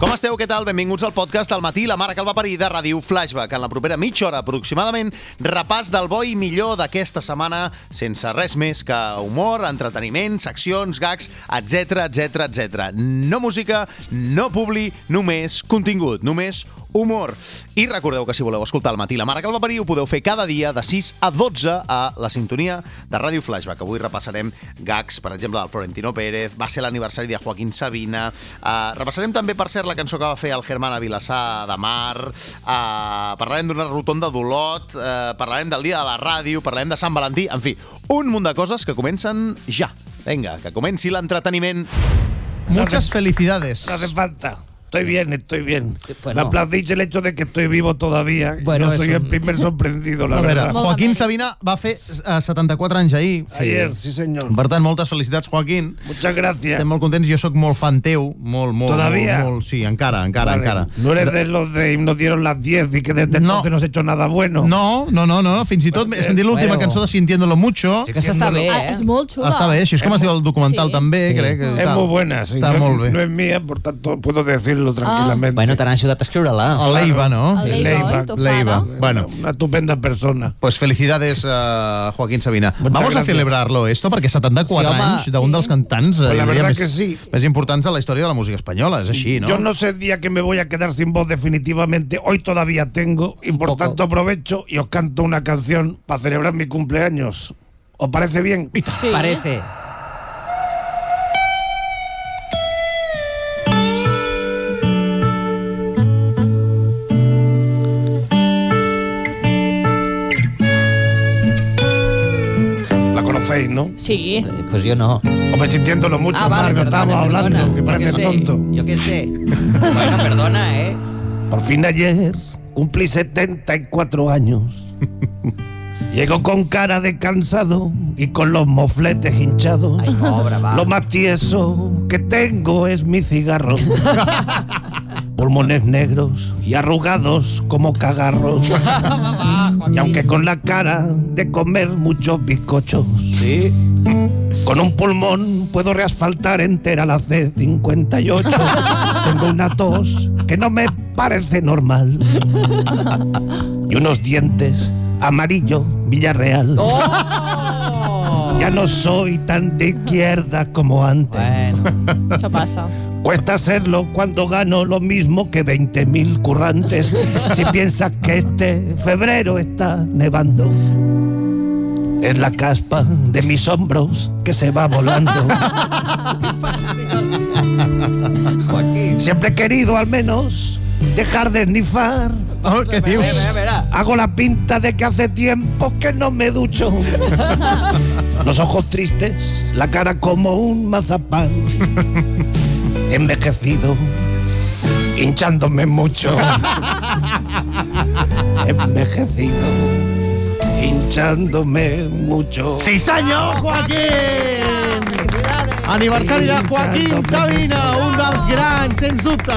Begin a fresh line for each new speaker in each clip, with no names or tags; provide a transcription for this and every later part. Com esteu? Què tal? Benvinguts al podcast al matí, la mare que el va parir de Ràdio Flashback. En la propera mitja hora, aproximadament, repàs del bo i millor d'aquesta setmana, sense res més que humor, entreteniment, seccions, gags, etc etc etc. No música, no publi, només contingut, només humor. I recordeu que si voleu escoltar al matí la mare que el va parir, ho podeu fer cada dia de 6 a 12 a la sintonia de Ràdio Flashback. Avui repassarem gags, per exemple, del Florentino Pérez, va ser l'aniversari de Joaquín Sabina, uh, repassarem també, per cert, la cançó que va fer el Germán Vilassar de Mar, uh, parlarem d'una rotonda d'Olot, uh, parlarem del dia de la ràdio, parlarem de Sant Valentí, en fi, un munt de coses que comencen ja. Vinga, que comenci l'entreteniment. Muchas felicidades.
No hace falta. Estoy bien, estoy bien. Me aplaudís el hecho de que estoy vivo todavía.
Bueno,
no soy
es
el
un-
primer sorprendido, la
A veure,
verdad.
Joaquín Sabina va fer eh, 74 anys ahir.
Ayer, sí, señor.
Per tant, moltes felicitats, Joaquín.
Muchas gracias.
Estem molt contents, jo sóc molt fan teu, molt, molt,
Todavía?
molt, molt, sí, encara, encara,
Vale.
encara.
No eres de los de nos dieron las 10 y que desde
No.
entonces no has hecho nada bueno.
No, no, no, no, fins i tot he sentit l'última
Bueno.
cançó de Sintiéndolo Mucho.
Sí que aquesta està bé,
Ah,
eh?
és molt xula.
Està bé, així és com es diu el documental
Sí.
també,
Sí.
crec. que
Es
tal.
muy buena, sí.
Está
no,
muy bien. Ah.
no es mía, por tanto puedo decirlo tranquilamente.
Bueno, t'han ajudat a escriure-la.
El Leiva, no?
El Leiva,
Sí, Leiva,
oi? Tu fa,
Leiva.
no?
Bueno,
Ah. Una estupenda persona.
Pues felicidades a Joaquín Sabina.
Muchas
Vamos a
gracias.
celebrarlo esto perquè 74
Sí, home.
anys d'un dels cantants eh,
Pues la
jo diria,
verdad
més,
que sí.
més importants de la història de la música espanyola, és així, no?
Yo no sé el día que me voy a quedar sin voz definitivamente. Hoy todavía tengo y por
poco.
tanto aprovecho y os canto una canción para celebrar mi cumpleaños. ¿Os parece bien?
Sí.
Parece.
La conocéis, ¿no?
Sí.
Eh, Pues jo no.
Hombre, sintiéndolo mucho,
Ah, vale,
Marco,
perdona,
estábamos hablando,
perdona.
que
Yo qué
pareces
sé,
tonto.
Yo qué sé. Bueno, perdona, eh?
Por fin ayer cumplí 74 años. Llego con cara de cansado y con los mofletes hinchados.
Ay, pobre, va.
Lo más tieso que tengo es mi cigarro. Pulmones negros y arrugados como cagarros. y aunque con la cara de comer muchos bizcochos.
Sí.
Con un pulmón puedo reasfaltar entera la C58. Tengo una tos que no me parece normal. Y unos dientes amarillo Villarreal. Ya no soy tan de izquierda como antes.
Bueno.
Això passa.
Cuesta hacerlo cuando gano lo mismo que 20.000 currantes. Si piensas que este febrero está nevando, es la caspa de mis hombros que se va volando. Siempre he querido al menos dejar de esnifar.
Oh, què
A
dius?
veure, a veure.
Hago la pinta de que hace tiempo que no me ducho. Los ojos tristes, la cara como un mazapán. Envejecido, hinchándome mucho. Envejecido, hinchándome mucho.
Sí, senyor, Joaquín! Aniversari de Joaquín Sabina, un dels grans, sens dubte!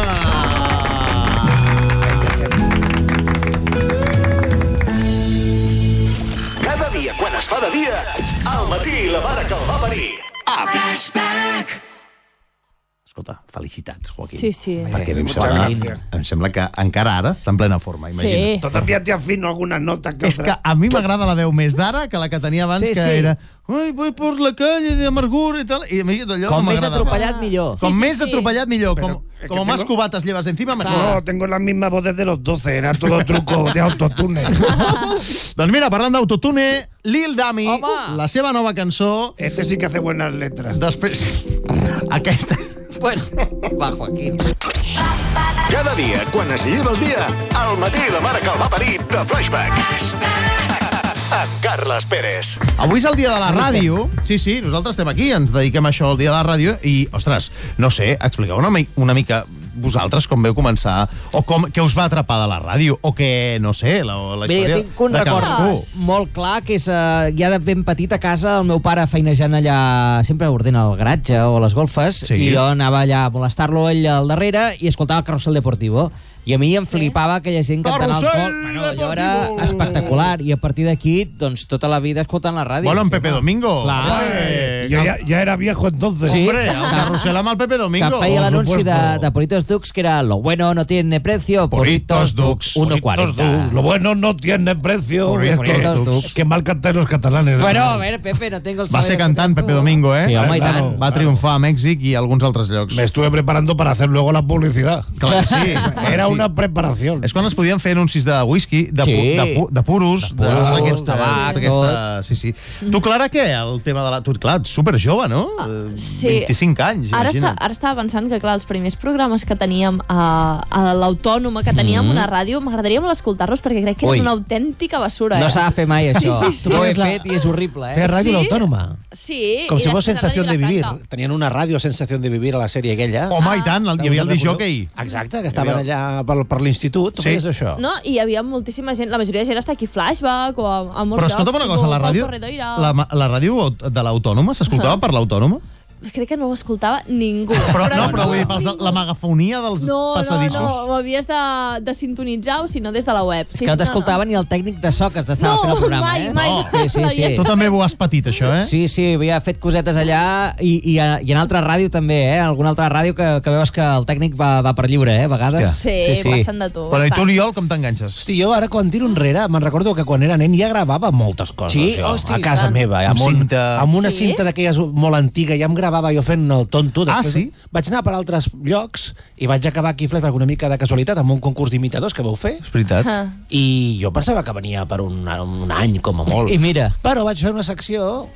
Cada dia, quan es fa de dia, al matí la mare que el va parir. Ah.
Escolta, felicitats, Joaquín.
Sí, sí.
Perquè a mi em
Moltes
sembla,
gràcies.
em sembla que encara ara està en plena forma, imagina't.
Sí.
Todavía te afino algunas notas que
És que
otras.
a mi m'agrada la veu més d'ara que la que tenia abans,
Sí,
que
sí.
era... Ai, voy por la calle de amargura i tal. I a mi allò
Com
no
més
m'agrada.
atropellat, millor.
Com
Sí, sí,
més
sí.
atropellat, millor. Com,
Però, eh,
com
que
más
tengo-
cubatas llevas encima, mejor.
No, tengo la misma voz desde los 12, era todo truco de autotune.
Doncs mira, parlant d'autotune, Lil Dami,
Home!
la seva nova cançó...
Este sí que hace buenas letras.
Després... Aquesta...
Bueno, va, Joaquín.
Cada dia, quan es lleva el dia, al matí la mare que el va parir de Flashback. Amb Carles Pérez.
Avui és el dia de la ràdio. Sí, sí, nosaltres estem aquí, ens dediquem a això al dia de la ràdio i, ostres, no sé, expliqueu una, mi- una mica vosaltres com veu començar o com, què us va atrapar de la ràdio o que, no sé, la, la
Bé,
història
jo tinc un
de
record Ah,
cadascú.
molt clar, que és eh, ja de ben petit a casa, el meu pare feinejant allà, sempre ordena el garatge o les golfes,
Sí.
i jo anava allà a molestar-lo ell al darrere i escoltava el carrusel deportivo. I a mi em flipava aquella gent cantant els
Carrusel
gols. Bueno, allò
deportivo.
era espectacular. I a partir d'aquí, doncs, tota la vida escoltant la ràdio.
Bueno, en Pepe Domingo.
Clar.
Hombre,
Eh, Yo ya, ya era viejo entonces.
Sí.
Hombre, a un carrusel amb el Pepe
que
Domingo.
feia
Por
l'anunci de,
supuesto.
de Politos Dux, que era lo bueno no tiene precio,
Politos
Politos
Dux.
Dux,
Los dos,
1,40.
Lo bueno no tiene precio.
Por
Es
bien,
que,
por los dos.
que mal cantan los catalanes.
Bueno, a ver, Pepe, no tengo el
Va
saber
ser
que
cantant
tienes
Pepe
tú.
Domingo, eh?
Sí, home, i
Claro.
tant.
Va triomfar a Mèxic i a alguns altres llocs.
Me estuve preparando para hacer luego la publicidad.
Clar que sí.
Era
Sí.
una preparación.
És quan es podien fer anuncis de whisky, de, pu
Sí.
de, pu de puros, de,
puros,
d'aquesta-
tabac,
d'aquesta- Sí, sí.
Mm.
Tu, Clara, què? El tema de la... Tu, clar, ets superjove, no? Eh,
Ah, Sí.
25 anys,
Ara, està,
imagina't.
ara estava pensant que, clar, els primers programes que teníem a, a l'Autònoma, que teníem mm. una ràdio, m'agradaria molt escoltar-los perquè crec que
Ui.
era una autèntica bessura.
No
eh?
s'ha de fer mai, això.
Sí, sí, sí.
Tu ho
Fes
has
la-
fet i és horrible, eh?
Fer ràdio
Sí?
a l'autònoma.
Sí.
Com
i
si fos
després a
sensació de
Ràdio
vivir.
Vilafranca.
Tenien una ràdio sensació de vivir a la sèrie aquella.
Home, i tant, el- hi havia el disjockey.
Exacte, que estaven allà per, per l'institut. Tu
Sí.
feies això?
No, i hi havia moltíssima gent, la majoria de gent està aquí flashback o a, a molts
Però escolta'm una
llocs,
cosa,
tipus
la
Pau
ràdio,
Corredoira.
la, ma- la ràdio aut- de l'Autònoma s'escoltava per l'Autònoma?
Crec que no ho escoltava ningú.
Però, no, però vull dir, pels,
ningú.
la megafonia dels
no,
passadissos.
No, no, ho havies de, de sintonitzar o si no des de la web.
És que no t'escoltava ni el tècnic de so que t'estava
No,
fent el programa,
mai,
eh?
mai.
Sí, sí, sí.
Tu també ho has patit, això, eh?
Sí, sí, havia fet cosetes allà i, i, a, i en altra ràdio també, eh? En alguna altra ràdio que, que veus que el tècnic va, va per lliure, eh? A vegades.
Sí, sí, passen de tu.
Però i tu, Oriol, com t'enganxes?
Hosti, jo ara quan tiro enrere, me'n recordo que quan era nen ja gravava moltes coses.
Sí?
jo,
Hosti,
a casa
tant.
meva, eh, amb,
Amb
un-
cinta.
amb una
Sí?
cinta d'aquelles molt antiga, ja em gravava jo fent el tonto.
Ah,
Després
sí?
Vaig anar per altres llocs i vaig acabar aquí Flashback una mica de casualitat amb un concurs d'imitadors que vau fer
És veritat.
Ah.
i jo pensava que venia per un, un any com a molt.
I mira,
Però vaig fer una secció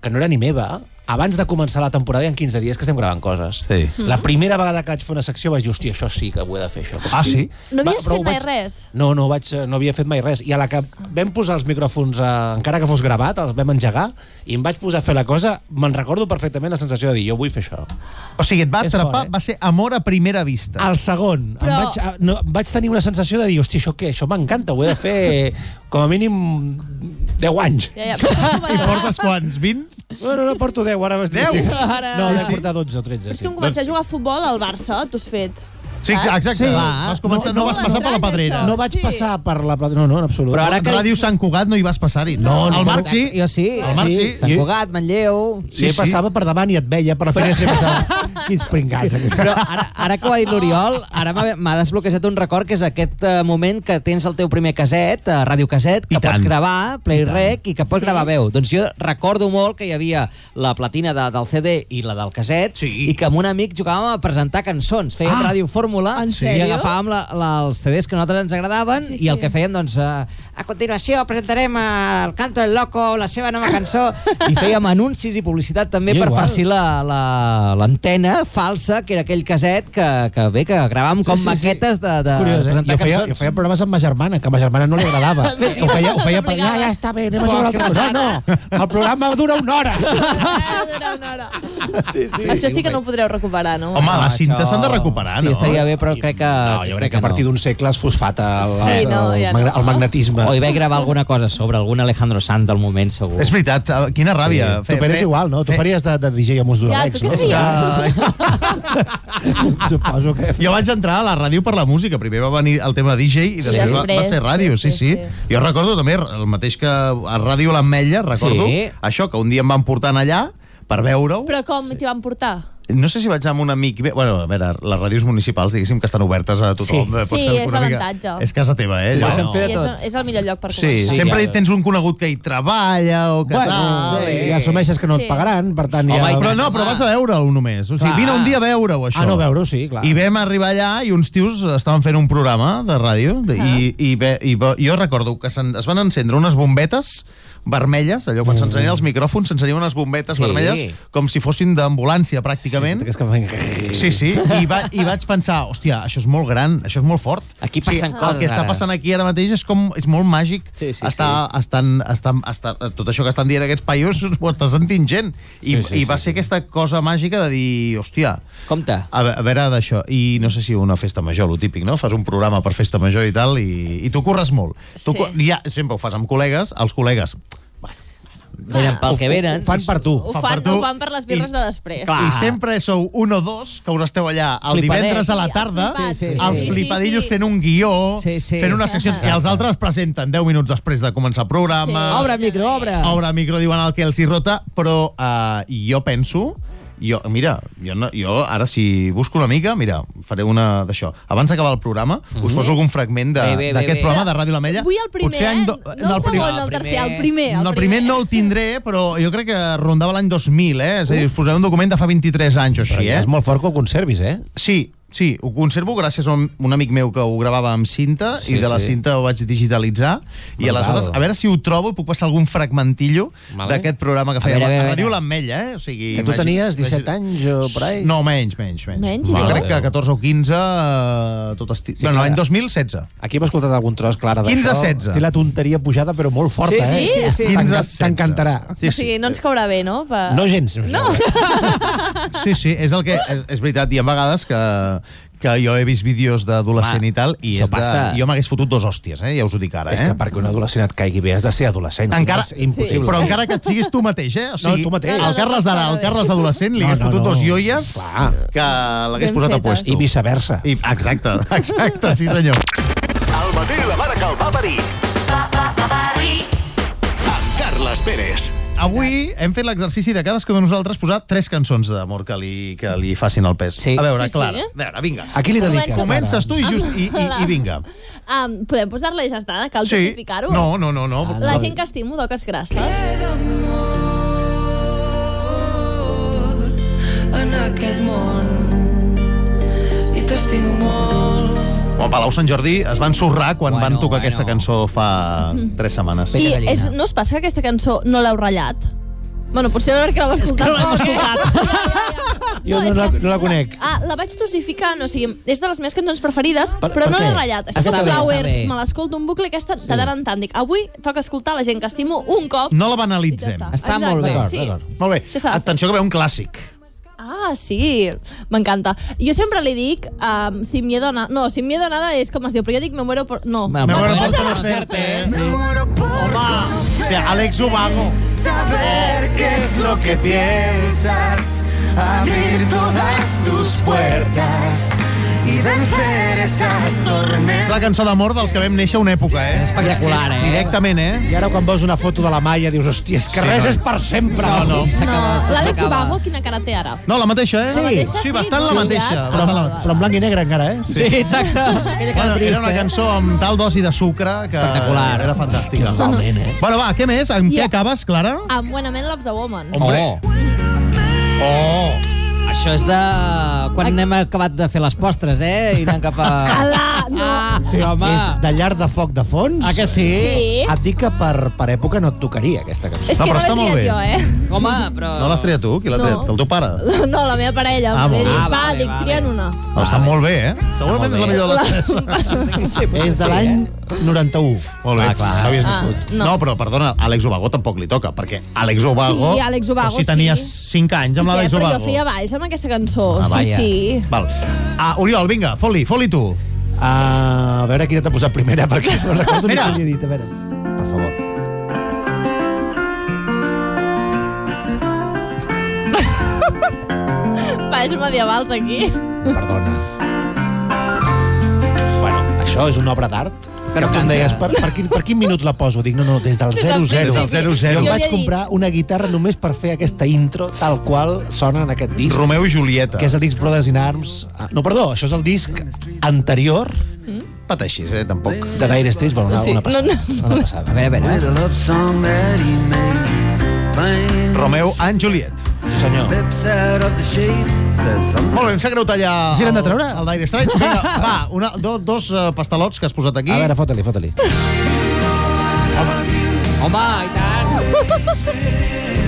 que no era ni meva, abans de començar la temporada, i en 15 dies que estem gravant coses.
Sí.
La primera vegada que vaig fer una secció vaig dir, hòstia, això sí que ho he de fer, això.
Ah, sí?
No havies
però
fet
ho
mai res?
No, no, vaig, no havia fet mai res. I a la que vam posar els micròfons, eh, encara que fos gravat, els vam engegar, i em vaig posar a fer la cosa, me'n recordo perfectament la sensació de dir, jo vull fer això.
O sigui, et va
És
atrapar,
fort, eh?
va ser amor a primera vista.
Al segon, Però...
Però-
em vaig, a- no, vaig tenir una sensació de dir, hòstia, això què? Això m'encanta, ho he de fer com a mínim 10 anys.
Ja, ja, però com
I
va-
portes quants? 20?
No, no, no porto 10, ara m'estic...
10?
Ara.
No,
Sí,
deu
sí.
portar 12 o 13,
És
sí.
que em començar a jugar a futbol al Barça, t'ho has fet.
Sí, exacte.
Sí.
Ah, Vas començar,
Ah, No,
no,
no,
vas passar
no,
per la
no,
pedrera.
no.
No vaig
Sí.
passar per la... pla- No, no, en absolut.
Però ara que-
Ràdio Sant Cugat no hi vas passar-hi. No, El Marc sí.
Jo sí.
El Marc sí.
Sant Cugat, Manlleu...
Sí, sí, passava per davant i et veia per la finestra i pensava, quins pringats. aquests".
Però ara, ara que ho ha dit l'Oriol, ara m'ha- m'ha desbloquejat un record, que és aquest eh, moment que tens el teu primer caset, a Ràdio Caset, que
I tant.
pots gravar, play rec, i que pots gravar veu. Doncs jo recordo molt que hi havia la platina de, del CD i la del caset,
Sí.
i que amb un amic jugàvem a presentar cançons. Fèiem
Ah.
Ràdio Fórmula,
En
i
sèrio?
agafàvem la, la, els CDs que a nosaltres ens agradaven,
Sí,
i el
sí.
que fèiem, doncs, eh, a continuació presentarem eh, el Canto del Loco, la seva nova cançó, i fèiem anuncis i publicitat també també
Igual.
per farcir la- la- l'antena la, falsa, que era aquell caset que, que bé, que gravàvem com sí, sí, maquetes de, de
Curiós, eh? Jo
presentar
feia, jo
cançons.
feia programes amb ma germana, que a ma germana no li agradava. ho feia, ho feia per... Ja,
Obligada.
ja està bé, anem a jugar a l'altra cosa. No, no, el programa dura una hora.
Dura una hora. Això sí que no ho podreu recuperar, no?
Home, les
Això-
cintes s'han de recuperar,
Hosti,
no?
Estaria bé, però crec que...
No, jo crec que a partir d'un segle es fosfata el,
Sí,
el,
no, ja
el,
no.
magne- el magnetisme.
O hi vaig gravar alguna cosa sobre algun Alejandro Sanz del moment, segur.
És veritat, eh, quina ràbia.
Tu, Pere, és igual, no? Tu faries de, de DJ amb uns
Ja, tu
durex,
què
no?
És que...
Suposo que...
Jo vaig entrar a la ràdio per la música. Primer va venir el tema DJ i després, va, va
després,
ser ràdio, sí, sí, sí. Jo recordo també el mateix que a Ràdio L'Ametlla, recordo sí.
Sí.
això, que un dia em van portant allà per veure-ho.
Però com t'hi van portar?
No sé si vaig anar amb un amic... Bé, Bueno, a veure, les ràdios municipals, diguéssim, que estan obertes a tothom.
Sí.
eh, pots
Sí,
fer
és
una mica-
l'avantatge.
És casa teva, eh? allò.
Bueno.
Fer
I
de
és,
tot.
és el millor lloc per
Sí,
començar.
sempre
ja.
tens un conegut que hi treballa o que
Bueno,
tal.
sí,
i-
i assumeixes que no
Sí.
et pagaran, per tant...
Home,
ja...
però no, però vas a veure'l només. O sigui,
Clar.
vine un dia a veure-ho, això.
Ah, no, veure-ho, sí, clar.
I vam arribar allà i uns tios estaven fent un programa de ràdio de, i,
Ah.
i, ve, i ve, jo recordo que se'n- es van encendre unes bombetes vermelles, allò quan s'encenien els micròfons s'encenien unes bombetes
Sí.
vermelles com si fossin d'ambulància, pràcticament.
Aquests que fan-
Sí, sí, i, va, i vaig pensar, hòstia, això és molt gran, això és molt fort.
Aquí passen
El
coses,
que està
ara.
passant aquí ara mateix és com és molt màgic.
Sí, sí,
està, Estan, estan, està, tot això que estan dient aquests paios ho està sentint gent. I, sí, sí, i va sí, ser aquesta cosa màgica de dir, hòstia,
Compte.
a ve- a veure d'això, i no sé si una festa major, lo típic, no? Fas un programa per festa major i tal, i, i tu corres molt. Tu,
Sí.
co- ja, sempre ho fas amb col·legues, els col·legues
Venen pel que venen.
Fan per tu.
Ho
Fa
fan,
per tu.
ho fan per les birres
I-
de després.
Clar.
I sempre sou un o dos que us esteu allà el
Flipadets.
divendres a la tarda,
Sí,
sí, sí.
els
Sí, sí,
flipadillos fent un guió,
Sí, sí.
fent unes seccions, i els altres presenten 10 minuts després de començar el programa,
Sí.
Obre, micro, obre.
obre micro, diuen el que els hi rota, però eh, jo penso... Jo, mira, jo, no, jo ara si busco una mica, mira, faré una d'això. Abans d'acabar el programa, us poso algun fragment de-
Mhm. Bé, bé, bé,
d'aquest
bé.
programa de Ràdio La Mella.
Vull el primer,
Potser any do-
eh? No el
prim-
segon, no el tercer, el primer.
no, el primer no el tindré, però jo crec que rondava l'any 2000, eh? És a dir, us posaré un document de fa 23 anys o
Però
així,
ja
eh?
és molt fort que ho conservis, eh?
Sí, sí, ho conservo gràcies a un, un amic meu que ho gravava amb cinta sí,
Sí,
i de la
sí.
cinta ho vaig digitalitzar i
Bravo.
aleshores, a veure si ho trobo i puc passar algun fragmentillo
Vale.
d'aquest programa que feia
veure, a
la
veure, a
Ràdio
veure.
l'Ametlla, eh? O sigui,
Que tu
imagina-
tenies 17 anys o per ahí?
No, menys, menys, menys.
Menys,
jo
Déu.
crec que 14 o 15, eh, tot estic... Sí, bueno,
clar.
l'any 2016.
Aquí hem escoltat algun tros, Clara, d'això.
15-16.
Té la tonteria pujada, però molt forta,
sí, sí,
eh?
sí.
T'enca-
15-16.
T'encantarà.
Sí,
O sigui, no ens caurà bé, no? Per...
No gens. eh? No.
Sí, sí, és el que... És, és veritat, hi ha vegades que que jo he vist vídeos d'adolescent
Home,
i tal, i
això
és de,
passa.
jo m'hagués fotut dos hòsties, eh? ja us ho dic ara.
És
Eh?
que perquè un adolescent et caigui bé has de ser adolescent.
Encara,
És impossible.
Però encara que et siguis tu mateix, eh? O sigui,
tu mateix.
El Carles d'ara, el Carles adolescent, li
No,
hagués
no,
fotut
no.
dos ioies
Clar.
que l'hagués
Ben
posat a
fetes.
puesto.
I viceversa.
I, exacte, exacte, sí senyor.
Al matí la mare que el va parir. Amb Carles Pérez.
Avui hem fet l'exercici de cadascú de nosaltres posar tres cançons d'amor que, li, que li facin el pes.
Sí.
A veure,
Sí, sí.
Clara, a veure, vinga.
A qui li dediques?
Comences tu i, just, i, i, i vinga.
Um, podem posar-la i ja està, cal
Sí.
justificar-ho.
No, no, no. no.
La gent que estimo, doques grasses.
en aquest món i t'estimo molt.
Home, Palau Sant Jordi es van sorrar quan
Bueno,
van tocar
bueno.
aquesta cançó fa tres setmanes.
I
Pella gallina.
és, no us passa que aquesta cançó no l'heu ratllat? Bueno, potser no que l'heu escoltat. És que l'hem escoltat.
Jo no la- no la conec.
Ah, la vaig dosificant, o sigui, és de les meves cançons preferides, per, però
per
no
què?
l'he ratllat. Això
Està
de
bé, està
Flowers,
bé.
me l'escolto un bucle aquesta de tant en tant. Dic, avui toca escoltar la gent que estimo un cop.
No la
i ja
banalitzem.
està.
Està
Exacte,
molt bé.
D'acord,
sí.
d'acord.
Molt bé,
Se sap.
atenció que ve un clàssic.
Ah, sí, m'encanta. Jo sempre li dic, um, sin miedo a nada... No, sin miedo a nada és com es diu, però jo dic me muero por... No.
Me
Me muero
Bueno,
por
per
conocerte.
Me muero por
eh?
Home, hòstia, Alex Ubago.
saber qué es lo que piensas, abrir todas tus puertas y vencer esas
És
tormentas.
la cançó d'amor dels que vam néixer una època, eh?
Espectacular, eh?
Directament, eh?
I ara quan veus una foto de la Maia dius, hòstia, és que
Sí,
res
no.
és per sempre.
No, no.
No,
S'acaba,
l'Àlex
s'acaba.
Ubago, quina cara té ara?
No, la mateixa, eh?
La mateixa,
sí bastant
sí,
la
sí,
mateixa.
ja.
Bastant la...
Però en blanc i negre encara, eh?
Sí, exacte. Aquella
Bueno, era una cançó amb tal dosi de sucre que
Espectacular.
era fantàstica.
Totalment, eh?
Bueno, va, què més? Amb què
Ja.
acabes, Clara?
Amb Buenament Loves a Woman.
Hombre.
Oh. Això és de... Quan hem acabat de fer les postres, eh? I anant cap a...
Ah, no.
Sí, home.
És de llar de foc de fons.
Ah, que sí?
Sí.
Et dic que per, per època no et tocaria aquesta cançó.
És
No,
que
però
no,
està
no
molt
l'he
bé.
triat jo, eh?
Home, però...
No l'has triat tu? Qui l'ha
No.
triat? El teu pare?
No, la meva parella.
Ah,
Ah,
molt
li
bé.
dic,
Ah,
va,
vale,
dic,
vale.
tria'n una.
Oh, està molt bé, eh? Segurament és la millor de les tres.
És
eh?
de l'any 91.
Molt bé.
Ah, clar.
No havies
Ah,
nascut.
no.
No, però, perdona, Alex Ubago tampoc li toca, perquè Alex Ubago...
Sí, Alex Ubago,
O si tenies
sí.
5 anys amb
I què?
l'Alex
Però
Ubago.
jo feia balls amb aquesta cançó.
Ah,
sí,
vaja.
sí.
Val. Ah, Oriol, vinga, foli, foli tu.
Ah, a veure quina t'ha posat primera, perquè no recordo
Mira.
ni què li he dit. A veure, per favor.
Balls medievals aquí.
Perdona. Bueno, això és una obra d'art.
Que no
Que tu em
canta.
deies, per, per, quin, per quin minut la poso? Dic, no, no, des del
Des del
0-0.
principi.
Des del 0-0.
Jo em
Jo
vaig
havia dit-
comprar una guitarra només per fer aquesta intro tal qual sona en aquest disc,
Romeu i Julieta.
que és el disc Brothers in Arms. Ah, No, perdó, això és el disc anterior
pateixis, eh, tampoc.
de Dire Straits. Bueno, una,
Sí,
una passada.
no,
Una passada.
A veure, eh? a veure.
love song that he made.
Romeu and Juliet.
Sí, senyor.
Steps out of the shade, says something.
Molt bé, em sap greu tallar...
Sí, l'hem de
el-
treure?
El d'Aire Straits. Vinga, va, una, do, dos eh, pastalots que has posat aquí.
A veure, fota-li, fota-li.
Home, i tant.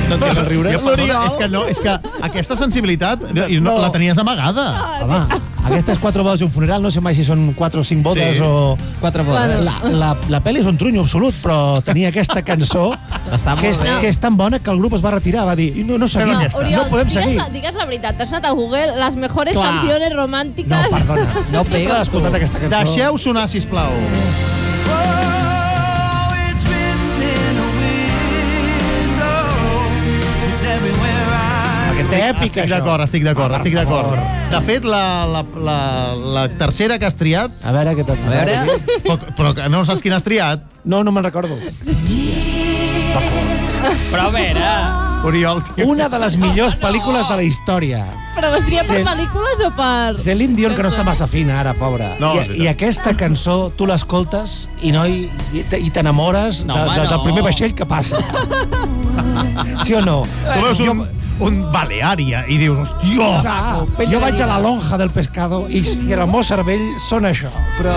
no
tens el riure?
Jo, perdona,
L'Oriol.
és que no, és que aquesta sensibilitat no, no.
No.
la tenies amagada.
Home, aquestes quatre bodes d'un funeral, no sé mai si són quatre o cinc bodes
Sí.
o... eh?
Quatre
La,
bodes.
la, la pel·li és un trunyo absolut, però tenia aquesta cançó
Està molt
que és,
bé.
que és tan bona que el grup es va retirar, va dir, no, no seguim,
Fem aquesta.
no podem
digues,
seguir.
la, digues la veritat. T'has anat a Google les mejores
Clar.
canciones romàntiques.
No, perdona,
No
no
pega,
t'ha escoltat
tu.
aquesta cançó.
Deixeu sonar, sisplau.
Oh, it's written in a window.
és èpic,
Estic
això. Ah,
d'acord, estic d'acord, estic d'acord. De fet, la, la, la, la tercera que has triat...
A veure què t'ha
A veure...
Però, però que no saps quina has triat.
No, no me'n recordo.
Però a veure...
Oriol, tio.
Una de les millors pel·lícules de la història.
Però vas triar per
Sí.
pel·lícules o per...
Celine Dion, que no està massa fina ara, pobra.
No, és
I,
veritat.
I aquesta cançó, tu l'escoltes i no hi, i te- i t'enamores
No,
de,
home,
de, del
no.
primer vaixell que passa. sí o no?
Tu veus un, un Baleària i dius, hòstia,
Ah, jo vaig a la lonja del pescado i, i el meu cervell sona això. Però...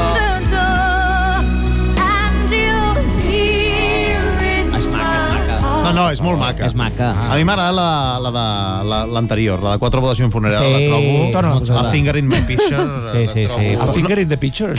És maca, és maca.
No, no, és molt maca.
És maca. Ah.
A mi m'agrada la, Ah, la de la- l'anterior, la de Quatre bodes i un funeral,
Sí.
la trobo...
Torna a
a
posar-la.
finger in my picture.
Sí,
la
sí,
trobo-
sí.
A finger in the picture.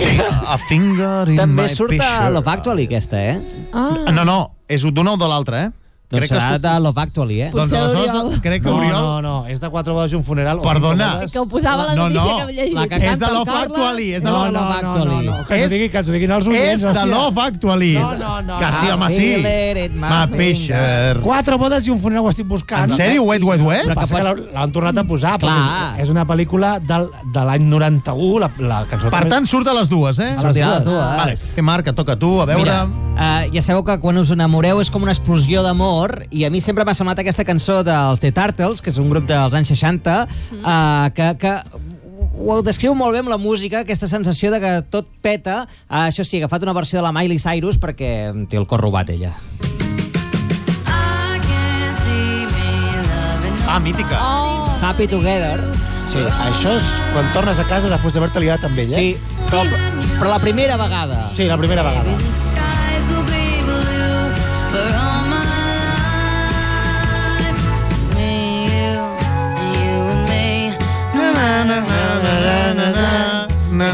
A finger in
També
my
surt a
picture.
Love Actually, aquesta, eh?
Ah,
No, no, és d'una o de l'altra, eh?
Doncs
que
serà
escu-
de Love Actually, eh?
doncs
Potser
aleshores,
Oriol.
crec que
No,
Oriol...
no, no, és de quatre bodes i un funeral. o
Perdona.
cinc bodes.
que ho posava a la
No,
notícia
no.
que havia llegit.
La que
És de
canta el
Love
Carles?
Actually, és de
No,
Love-
no, no, no, no. Que ens ho
És-
digui, que ens ho diguin els oients.
És de
hòstia.
Love Actually.
No, no, no.
Que sí, home,
I
sí.
feel it, my
My
finger.
picture.
Quatre bodes i un funeral ho estic buscant.
En sèrio? Wait, wait, wait?
Però passa que l'ha- l'han tornat a posar.
Clar.
perquè És una pel·lícula del, de l'any 91, la, la cançó...
Per
també-
tant, surt a les dues, eh?
A les Sortirà a les dues. dues.
Vale. Que marca, toca a tu, a veure...
Mira, uh, ja sabeu que quan us enamoreu és com una explosió d'amor i a mi sempre m'ha semblat aquesta cançó dels The Turtles, que és un grup dels anys 60, uh, que, que ho descriu molt bé amb la música, aquesta sensació de que tot peta. Uh, això sí, ha agafat una versió de la Miley Cyrus perquè té el cor robat ella.
Ah, mítica.
Oh.
Happy Together.
Sí, això és quan tornes a casa després d'haver-te liat amb ella.
Sí, però, però la primera vegada.
Sí, la primera vegada.
Na, na, na, na.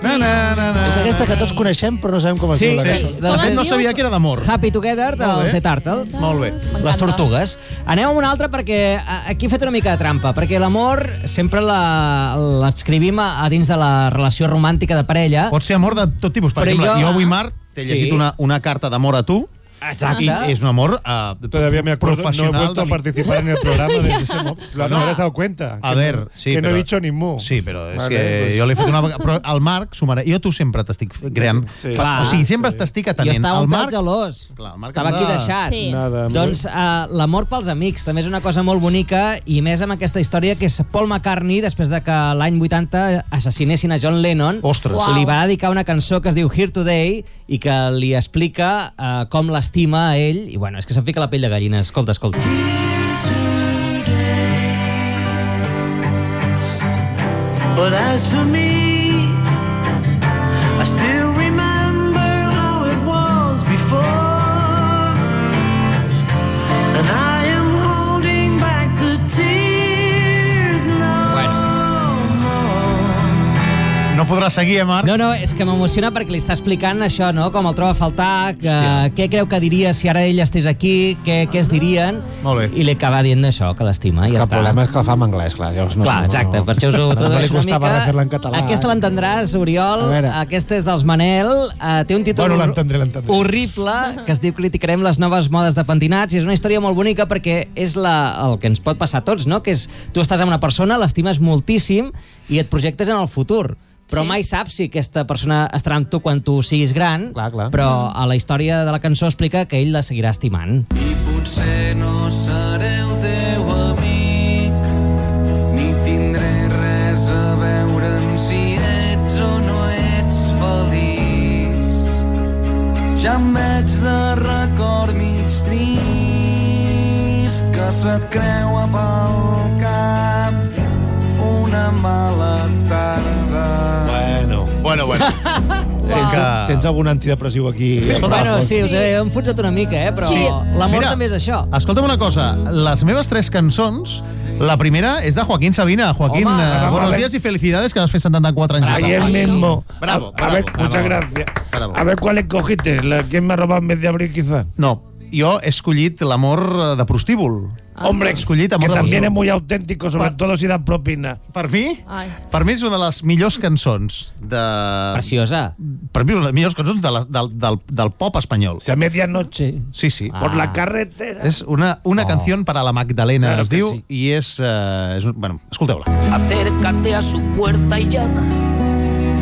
Na, na, na, na.
És aquesta que tots coneixem, però no sabem com es
Sí,
diu. la
sí.
cançó.
De fet, no sabia que era d'amor.
Happy Together dels The Turtles.
Molt bé.
M'encanta.
Les tortugues. Anem amb una altra perquè a- aquí he fet una mica de trampa, perquè l'amor sempre la- l'escrivim a, a dins de la relació romàntica de parella.
Pot ser amor de tot tipus. Per
Ah. Però
exemple,
jo-
jo avui, Marc, t'he
Sí.
llegit una, una carta d'amor a tu.
Exacte.
I és un amor eh,
Todavía me acuerdo, no he
professional.
vuelto a
de-
participar en el programa desde ese momento. ¿No,
No.
te has dado cuenta?
A
Que
ver,
no-
sí,
Que no
pero-
he dicho ni mu.
Sí, però és
Vale,
que
pues-
jo l'he fet una vegada... Però el Marc, s'ho mare... Jo a tu sempre t'estic creant...
Sí,
Clar,
clar,
o sigui, sempre t'estic
Jo
atenent.
estava
el
un
Marc...
pèl gelós.
Clar, el Marc
estava
està-
aquí deixat.
Sí.
Nada, muy-
Doncs uh, l'amor pels amics també és una cosa molt bonica i més amb aquesta història que és Paul McCartney després de que l'any 80 assassinessin a John Lennon
Ostres.
Uau.
li va dedicar una cançó que es diu Here Today i que li explica uh, com l'estima a ell i bueno, és que se'm fica la pell de gallina escolta, escolta
But as for me, I still remember how it was before. And I am holding back the tears no
bueno.
more.
No podrà seguir, eh, Marc?
No, no, és que m'emociona perquè li està explicant això, no? Com el troba a faltar, que,
Hòstia.
què creu que diria si ara ell estés aquí, què, què es dirien...
Molt bé.
I li acaba dient això, que l'estima, i
Que
ja
el
està.
problema és que la fa en anglès, clar. Llavors no,
Clar, exacte,
no, no.
per això us ho
Però no li
tradueixo una
costava
mica.
fer-la en català.
Aquesta l'entendràs, Oriol,
A veure.
aquesta és dels Manel, eh, té un títol
Bueno,
hor-
l'entendré, l'entendré.
horrible, que es diu Criticarem les noves modes de pentinats, i és una història molt bonica perquè és la, el que ens pot passar a tots, no? que és, tu estàs amb una persona, l'estimes moltíssim i et projectes en el futur, però mai saps si aquesta persona estarà amb tu quan tu siguis gran,
Clar, clar.
però a la història de la cançó explica que ell la seguirà estimant.
I potser no seré el teu amic, ni tindré res a veure amb si ets o no ets feliç. Ja em veig de record mig trist que se't creua pel cap una mala tarda.
Bueno.
Bueno, bueno. és que...
Tens algun antidepressiu aquí?
Bueno, sí, us he enfonsat una mica, eh? però
Sí.
l'amor
Mira,
també és això.
Escolta'm una cosa, les meves tres cançons, la primera és de Joaquín Sabina. Joaquín,
Home,
eh,
bravo,
buenos
eh?
días y felicidades que vas fer 74 anys.
Ayer
de
mismo.
Bravo,
a, a ver,
bravo,
muchas
bravo.
gracias.
Bravo.
A ver cuál escogiste. La que me ha robado en vez de abrir, quizás.
No, jo he escollit l'amor eh, de prostíbul.
Hombre,
Escollit a
que
mort de
también
persona.
es muy auténtico, sobre todo si dan propina.
Per mi,
Ai.
per mi és una de les millors cançons de...
Preciosa.
Per mi és una de les millors cançons de la, del, del, del pop espanyol.
O sea, a medianoche,
Sí, sí.
por la
Ah.
carretera.
És una, una
Oh.
oh. canció per a la Magdalena,
Claro
es
que
diu,
sí.
i és... Uh, és un- bueno, escolteu-la.
Acércate a su puerta y llama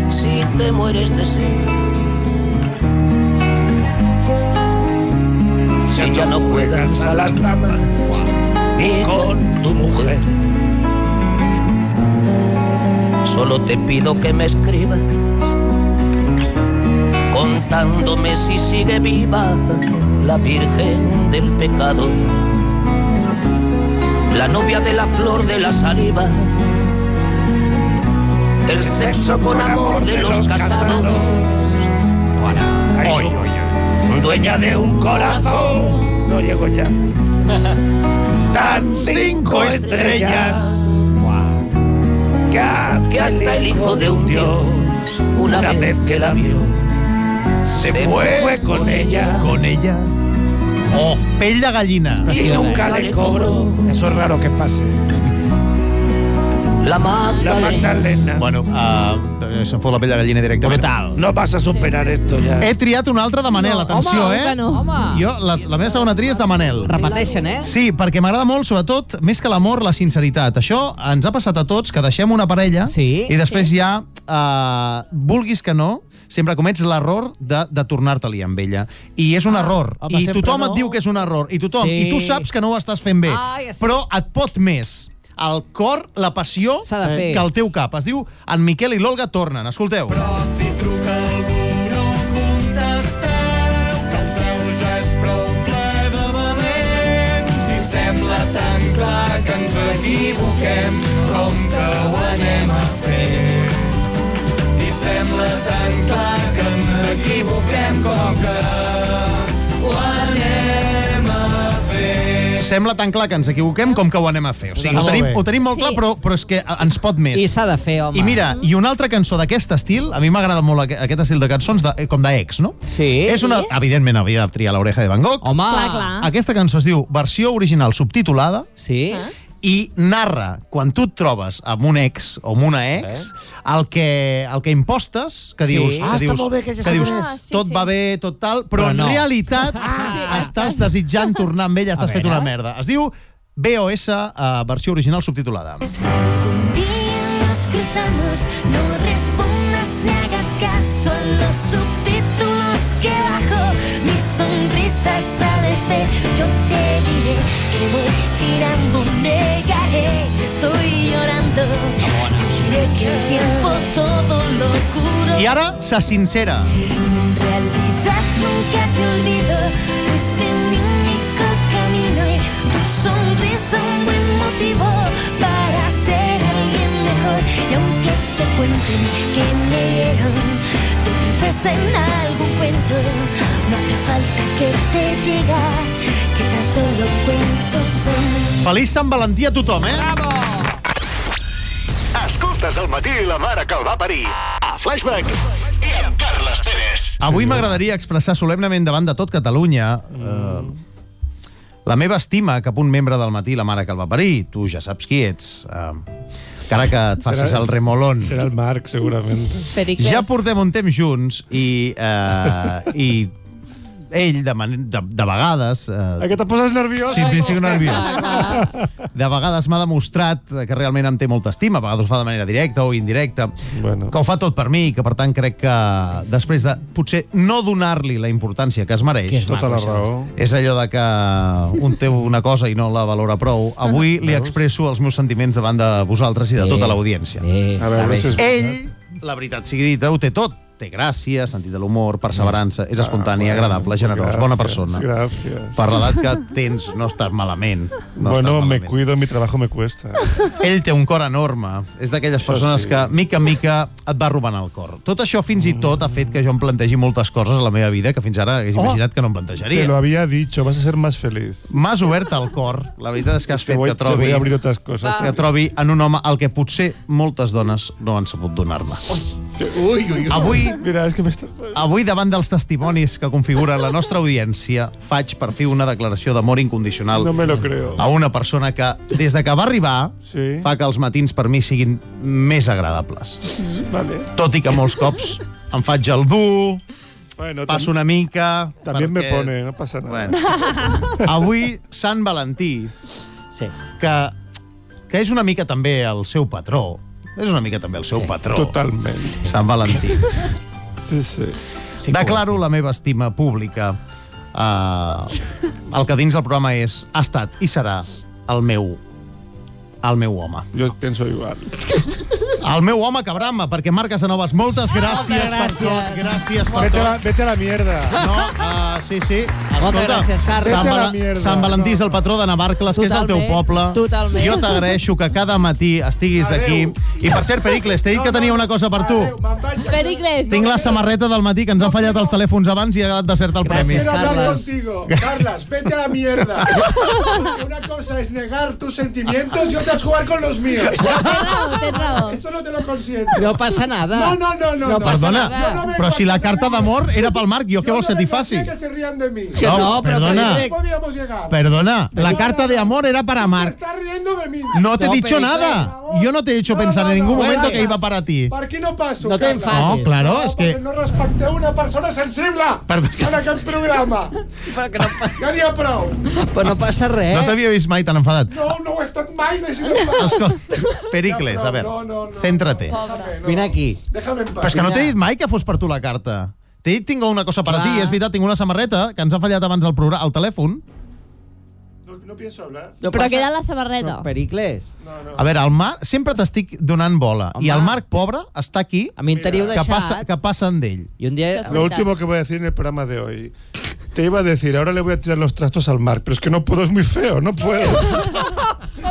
si te mueres de sed. Si ya no juegas
a las damas y con tu mujer.
Solo te pido que me escribas contándome si sigue viva la Virgen del Pecado, la novia de la flor de la saliva, el sexo con amor de los casados,
Ay,
Hoy,
su-
dueña de un corazón.
No llego ya. Tan cinco estrellas que hasta,
que hasta el hijo de un dios, una vez que la vio,
se
se
fue,
fue
con
con
ella
Con ella... Oh, pell de gallina.
y
Preciosa,
nunca
eh.
le cobró. Eso es raro que pase.
la
La
Magdalena.
Magdalena.
Bueno, uh, se'm fot la pell de gallina directament.
Brutal.
No vas a superar esto ya.
He triat una altra de Manel,
No,
atenció,
home,
eh?
que no. Home.
Jo, la, la meva segona tria és de Manel.
Repeteixen, eh?
Sí, perquè m'agrada molt, sobretot, més que l'amor, la sinceritat. Això ens ha passat a tots, que deixem una parella
Sí.
i després sí. ja, eh, vulguis que no, sempre comets l'error de, de tornar-te-li amb ella. I és
Ah,
un error.
home,
I
sempre
tothom
no.
et diu que és un error. I tothom.
Sí.
I tu saps que no ho estàs fent bé.
Ah, ja sé.
Però et pot més. El cor, la passió,
S'ha de fer.
que el teu cap. Es diu En Miquel i l'Olga tornen. Escolteu.
Però si truca algú no contesteu, que el seu ja és prou ple de valents. Si sembla tan clar que ens equivoquem, com que ho anem a fer? I sembla tan clar que ens equivoquem, com que ho anem a fer?
Sembla tan clar que ens equivoquem com que ho anem a fer. O sigui, ho
Molt
tenim,
bé.
ho tenim molt clar,
Sí.
però, però és que ens pot més.
I s'ha de fer, home.
I mira, i una altra cançó d'aquest estil, a mi m'agrada molt aqu- aquest estil de cançons, de, eh, com d'ex, no?
Sí.
És una, evidentment, havia de triar l'oreja de Van Gogh.
Home.
Clar, clar.
Aquesta cançó es diu versió original subtitulada
Sí?
Ah.
i narra quan tu et trobes amb un ex o amb una ex el que, el que impostes, que
Sí.
dius,
Ah,
que dius,
molt bé, que ja
que
sé
dius
quina és. Ah, sí,
tot
sí.
va bé, tot tal,
Però
però, en
no. Ah.
realitat estàs desitjant tornar amb ella, estàs fet
veure.
una merda. Es diu BOS, eh, versió original subtitulada.
Un día nos cruzamos, no respondas ni hagas caso a los subtítulos que bajo. Mi sonrisa sabes ver, yo te diré que voy tirando un negaré que estoy llorando. Diré que el tiempo todo lo curo.
I ara, se sincera.
En realidad nunca te olvido, fuiste mi único camino y tu sonrisa un buen motivo para ser alguien mejor. Y aunque te cuenten que me dieron de princesa en algún cuento, no hace falta que te diga que tan solo cuentos son.
Feliç Sant Valentí a tothom, eh? Bravo!
Escoltes al matí la mare que el va parir. A Flashback. I amb Carles Pérez.
Avui m'agradaria expressar solemnement davant de tot Catalunya eh, la meva estima cap a un membre del matí, la mare que el va parir. Tu ja saps qui ets. Eh, encara que et facis el remolón.
Serà el Marc, segurament.
Pericles.
Ja portem un temps junts i, eh, i ell, de, man- de, de vegades... Eh,
que te poses nerviós?
Sí, em fico nerviós. De vegades m'ha demostrat que realment em té molta estima, a vegades ho fa de manera directa o indirecta,
Bueno.
que ho fa tot per mi, que per tant crec que després de potser no donar-li la importància que es mereix,
Que és
Tota la
maco, això.
raó.
és allò de que un té una cosa i no la valora prou, avui li expresso els meus sentiments davant de vosaltres i de tota l'audiència.
Bé,
A pues
està
veure
bé.
si és
Ell, la veritat sigui dita, ho té tot. Té gràcia, sentit de l'humor, perseverança, és
Ah,
espontani, agradable, generós, bona persona.
Gràcies.
Per l'edat que tens, no estàs malament. No estàs
bueno, me
malament.
cuido, mi trabajo me cuesta.
Ell té un cor enorme. És d'aquelles persones
sí.
que, mica en mica, et va robant el cor. Tot això, fins i tot, ha fet que jo em plantegi moltes coses a la meva vida que fins ara hagués imaginat que no em
Te Oh! lo
plantejaria.
había dicho, vas a ser más feliz.
M'has obert el cor. La veritat és que has
Te
fet
voy,
que
te voy
trobi
a abrir otras cosas.
que trobi en un home el que potser moltes dones no han sabut donar-me. Ui, ui, ui. Avui,
Mira, és que m'està...
avui, davant dels testimonis que configura la nostra audiència, faig per fi una declaració d'amor incondicional
No me lo creo.
a una persona que, des de que va arribar,
Sí.
fa que els matins per mi siguin més agradables.
Vale.
Tot i que molts cops em faig el dur,
Bueno,
passo una mica...
También me pone, no pasa nada.
Bueno. Avui, Sant Valentí,
Sí.
que, que és una mica també el seu patró. És una mica també el seu sí, patró.
Totalment.
Sant Valentí.
Sí, sí.
sí Declaro sí. la meva estima pública eh, el que dins el programa és, ha estat i serà el meu el meu home.
Jo penso igual.
El meu home que brama, perquè Marc Casanovas, moltes
gràcies.
gràcies, per tot. Gràcies per
Vete a
tot.
la, vete a la mierda.
No, uh, sí, sí. Escolta,
gràcies, Carles.
Vete
Sant,
a la
Val
mierda.
Sant Valentí és el patró de Navarcles, que és el teu
Totalment,
poble.
totalment.
Jo t'agraeixo que cada matí estiguis
Adeu.
aquí. I per cert, Pericles, t'he dit que tenia una cosa per tu.
Adéu, me'n vaig.
Pericles.
Tinc la samarreta del matí que ens han fallat els telèfons abans i ha quedat desert el premi.
Gràcies,
Quiero hablar
Carles.
contigo. Carlas, vete a la mierda. Porque Una cosa es negar tus sentimientos y otra es jugar con los míos.
Tens raó, tens raó.
Esto no te lo consiento.
No passa nada.
No, no, no, no.
No passa
Perdona,
nada.
No, no,
però si la carta d'amor era pel Marc, jo què vols que t'hi faci?
Que se rían de mí.
Que no,
No,
però
perdona.
perdona.
¿Cómo habíamos llegado?
Perdona, la carta de amor era para
Te
Marc.
estás riendo de mí.
No te he
No,
dicho
Pericles.
nada. Yo no te he hecho pensar en ningún momento que iba para ti.
¿Para qué no paso?
No te
Carla?
enfades.
No, claro, es
Porque
que...
no respecté a una persona sensible
Perdó.
en aquel programa.
Però, que no, pa-
Ja n'hi ha prou.
però no passa res.
No t'havia vist mai tan enfadat.
No, no ho he estat mai, deixi de parlar.
Escolta, Pericles, a veure,
No, no, no.
céntrate.
Déjame, no.
Vine aquí.
Déjame en paz.
Però és que no t'he dit mai que fos per tu la carta. T'he dit tinc una cosa per a ti,
Clar.
i és veritat, tinc una samarreta que ens ha fallat abans el, programa, el telèfon.
No, no pienso hablar.
No
Però
passa-
queda la samarreta.
Però, Pericles,
A veure, el Marc, sempre t'estic donant bola, i el Marc, pobre, està aquí,
a mi em teniu
que
deixat...
passa, que passen d'ell.
I un dia...
Això
Lo
Verdad.
último que voy a decir en el programa de hoy. Te iba a decir, ahora le voy a tirar los trastos al mar, pero es que no puedo, es muy feo, no puedo.
No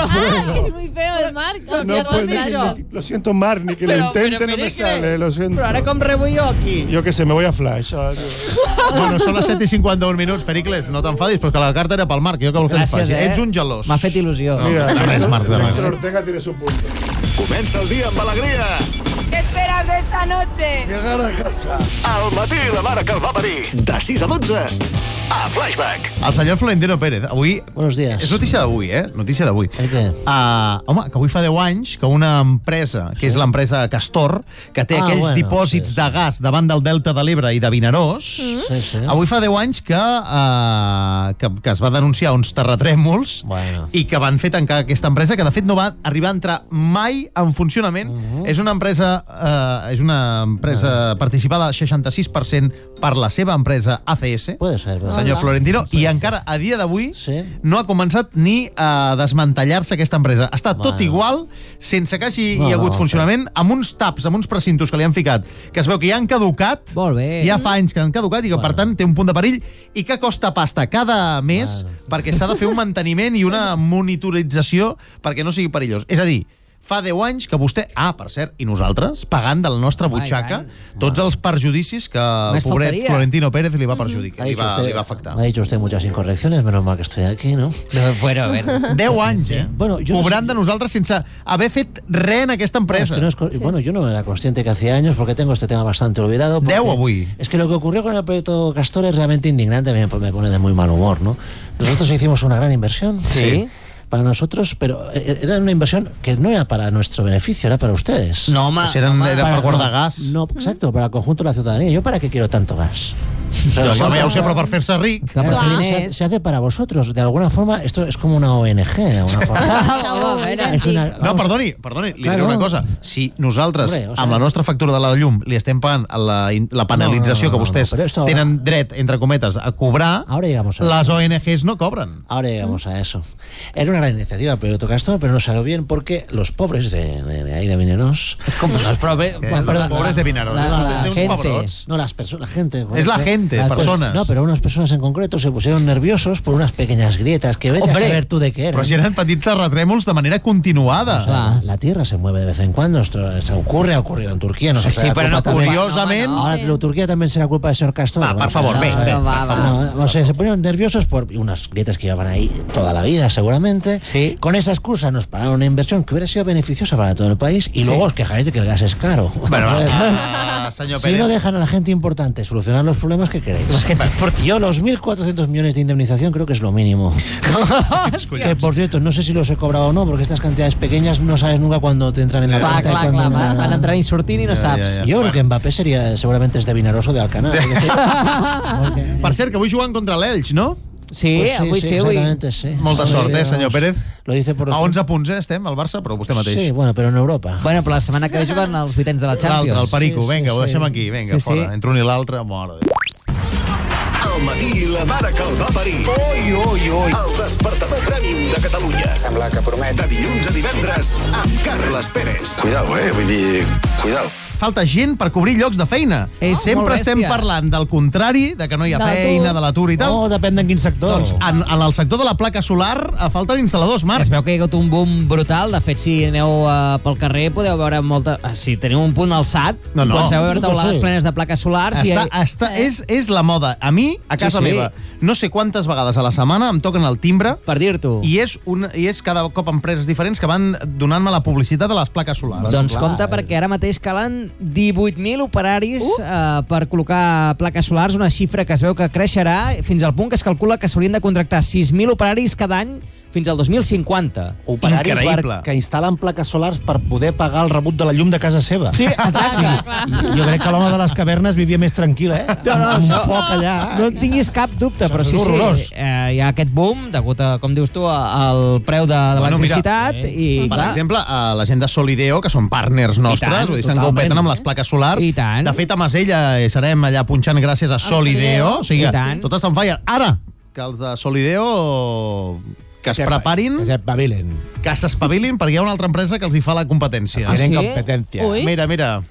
ah, que és muy feo el Marc.
No
Hòstia,
puedo.
no
ni-
això.
ni- Lo siento, Mar, ni que lo intente, no me
Pericles,
sale, lo siento.
Però ara com rebo jo aquí?
Yo qué sé, me voy a Flash. adiós.
Bueno, són les 7 i 51 minuts, Pericles, no t'enfadis, però és que la carta era pel Marc, jo què vol que li
Gràcies,
faci?
eh?
Ets un gelós.
M'ha fet il·lusió.
No,
Mira,
de res, Marc, de
Víctor
res.
Ortega tiene su punto.
Comença el dia amb alegria.
¿Qué esperas de esta noche?
Llegar a casa.
Al matí la mare que el va parir. De 6 a 12. A Flashback.
El senyor Florentino Pérez, avui...
Buenos días.
És notícia d'avui, eh? Notícia d'avui.
El què?
Uh, home, que avui fa 10 anys que una empresa, que és l'empresa Castor, que té
Ah,
aquells
bueno,
dipòsits
sí, Mm-hmm.
de gas davant del Delta de l'Ebre i de Vinaròs,
Sí, sí.
avui fa 10 anys que, uh, que, que es va denunciar uns terratrèmols
Bueno.
i que van fer tancar aquesta empresa, que de fet no va arribar a entrar mai en funcionament.
Mhm.
Uh -huh. És una empresa, uh, és una empresa participada al 66% per la seva empresa ACS,
Puede ser, ¿verdad?
senyor Florentino, i encara a dia d'avui
Sí.
no ha començat ni a desmantellar-se aquesta empresa. Està tot igual, sense que hagi
No,
hi ha hagut
no,
funcionament, amb uns taps, amb uns precintos que li han ficat, que es veu que ja han caducat,
Molt bé.
ja fa anys que han caducat i que, per tant, té un punt de perill i que costa pasta cada mes perquè s'ha de fer un manteniment i una monitorització perquè no sigui perillós. És a dir, fa 10 anys que vostè... Ah, per cert, i nosaltres, pagant de la nostra
Home, i
butxaca
tant.
tots els perjudicis que el
Només
pobret
faltaria.
Florentino Pérez li va
Mhm.
perjudicar, li
dicho
va,
usted-
li va afectar.
ha dicho usted muchas incorrecciones, menos mal que estoy aquí, ¿no?
No, bueno, a veure.
10 anys, eh?
Bueno, jo no
Cobrant
sé-
de nosaltres sense haver fet res en aquesta
Es
empresa.
que no es co- Bueno, yo no era consciente que hacía años porque tengo este tema bastante olvidado. porque-
Deu avui.
Es que lo que ocurrió con el proyecto Castor es realmente indignante, me me pone de muy mal humor, ¿no? Nosotros hicimos una gran inversión.
Sí.
Para nosotros, pero eh, era una inversión que no era para nuestro beneficio, era para ustedes.
No, home,
O sigui, eren,
home.
era per guardar gas.
No, exacto, para el conjunto de la ciudadanía. ¿Yo para qué quiero tanto gas? O sea,
Doncs,
si-
home, ja ho sé, però per fer-se ric.
Claro,
Claro.
se hace- se hace para vosotros. De alguna forma, esto es como una ONG. De alguna forma.
Ah, home, a veure.
Es una-
No,
vamos-
perdoni, perdoni, li diré
Claro.
una cosa. Si nosaltres,
Hombre, o sea-
amb la nostra factura de la llum, li estem pagant la, in- la penalització
No, no, no,
que vostès
no, però esto ahora-
tenen dret, entre cometes, a cobrar,
Ahora llegamos a-
les ONGs no cobren.
Ahora llegamos a eso. Era una gran iniciativa, pero toca esto, pero no salió bien porque los pobres de, de- de ahí de Mineros,
Com els pobres...
Eh, els pobres de Vinaròs.
La, la,
Té
la
uns
gente.
pebrots.
no las personas, la gente.
És la
bueno,
gente,
Ah, pues,
personas.
no, pero unas personas en concreto se pusieron nerviosos por unas pequeñas grietas que vete
Hombre, pues
a saber tú de qué eran.
Però si eren petits terratrèmols de manera continuada.
O sea, Ah, la Tierra se mueve de vez en cuando. Esto se ocurre, ha ocurrido en Turquía. No sé
Sí,
si
sí,
era
pero
culpa
no,
también-
curiosament-
Ahora, pero Turquía también será culpa del señor Castro.
Va, por favor, ven, ven, por favor.
no, o sea, se ponieron nerviosos por unas grietas que llevaban ahí toda la vida, seguramente. Sí. Con esa excusa nos pararon una inversión que hubiera sido beneficiosa para todo el país y
Sí.
luego os quejáis de que el gas es caro.
Bueno,
O sea,
ah, senyor
si
Pérez.
no dejan a la gente importante solucionar los problemas que queréis. Yo los 1.400 millones de indemnización creo que es lo mínimo. que por cierto, no sé si los he cobrado o no, porque estas cantidades pequeñas no sabes nunca cuándo te entran en la
Clar,
cuenta. y
clar,
cuándo
clar,
no.
van- van entrant i sortint i no Ja, saps. ja, ja.
Yo creo que Mbappé sería, seguramente es de Vinaroso de Alcanar. Es decir,
Per cert, que avui juguen contra l'Elx, no?
pues exactamente, sí.
Molta
Sí,
sort, eh,
vamos.
senyor Pérez?
Lo dice por
A 11 punts, eh, estem, al Barça, però vostè mateix.
Sí, bueno, però en Europa.
Bueno, però la setmana que ve juguen els vuitens de la Champions.
L'altre, el Perico, vinga, ho deixem aquí, vinga,
Sí, sí.
fora. Entre un i l'altre, mort.
Al matí, la mare que el va parir. Oi, oi, oi. El despertador prèmium de Catalunya. Sembla que promet. De dilluns a divendres, amb Carles Pérez.
Cuidao, eh? Vull dir, cuidao. Falta gent per cobrir llocs de feina.
Oh,
Eh,
molt
Sempre estem
bèstia.
parlant del contrari, de que no hi ha
De
feina,
l'atur.
de l'atur i tal.
Oh,
No, Oh, depèn de quin sector.
Doncs en, en el sector de la placa solar eh, falten instal·ladors, Marc.
Ah, Es veu que hi ha hagut un boom brutal. De fet, si aneu uh, pel carrer, podeu veure molta... ah, Si teniu un punt alçat,
No, no.
podeu veure taulades
Sí.
plenes de plaques solars.
Està,
i...
està, és, és la moda. A mi, a
eh? Sí,
casa
sí.
sí, sí. meva, no sé quantes vegades a la setmana em toquen el timbre
per dir-t'ho.
I, és un, I és cada cop empreses diferents que van donant-me la publicitat de les plaques solars.
Doncs compte,
eh.
perquè ara mateix calen 18.000 operaris uh! Uh, per col·locar plaques solars, una xifra que es veu que creixerà fins al punt que es calcula que s'haurien de contractar 6.000 operaris cada any fins al 2050.
operaris per, que instal·len plaques solars per poder pagar el rebut de la llum de casa seva.
Sí, exacte.
Jo crec que l'home de les cavernes vivia més tranquil, eh?
No, no,
amb, amb
això-
foc allà.
No en tinguis cap dubte, però
és
sí, sí,
horrorós.
eh, hi ha aquest boom, degut a, com dius tu, a- al preu de, de l'electricitat.
mira,
i,
per
clar,
exemple, eh, la gent de Solideo, que són partners nostres,
tant,
vull dir, se'n
totalment,
copeten amb
eh?
les plaques solars. I tant. De fet, a Masella eh, serem allà punxant gràcies a
Solideo,
Solideo. O sigui,
i tant.
tot està en fire. Ara, que els de Solideo que es
Que se-
preparin... Que s'espavilin. Que s'espavilin, perquè hi ha una altra empresa que els hi fa la competència.
Ah, Tenen sí? competència. Ui.
Mira, mira.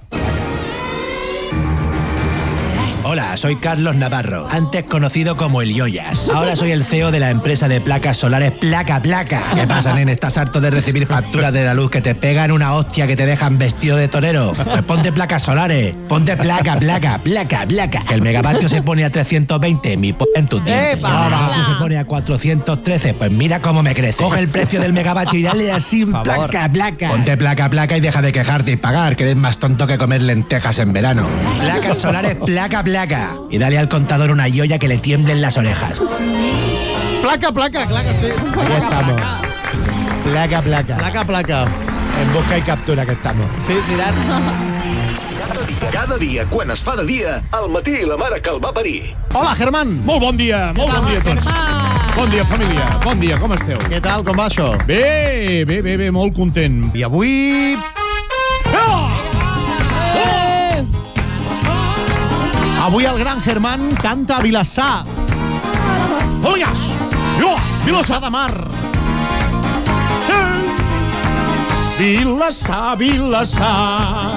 Hola, soy Carlos Navarro, antes conocido como el Yoyas. Ahora soy el CEO de la empresa de placas solares Placa Placa. ¿Qué pasa, nene? ¿Estás harto de recibir facturas de la luz que te pegan una hostia que te dejan vestido de torero? Pues ponte placas solares. Ponte placa, placa, placa, placa. Que el megavatio se pone a 320, mi p*** en tus dientes. El megavatio se pone a 413, pues mira cómo me crece. Coge el precio del megavatio y dale así un
Por favor.
placa, placa. Ponte placa, placa y deja de quejarte y pagar, que eres más tonto que comer lentejas en verano. Placas solares, placa, placa. Y dale al contador una yoya que le tiemblen las orejas.
Placa, placa, placa, sí.
Placa, placa.
Placa, placa.
En busca i captura que estamos.
Sí, mirad.
Cada dia, quan es fa de dia, al matí la mare que el va parir.
Hola, Germán.
Molt bon dia, molt bon dia a tots. Bon dia, família. Bon dia, com esteu?
Què tal, com va això?
Bé, bé, bé, bé, molt content. Ah!
I avui... Avui el gran Germán canta a Vilassar.
Olegas! Jo,
Vilassar de Mar. Eh!
Vilassar, Vilassar,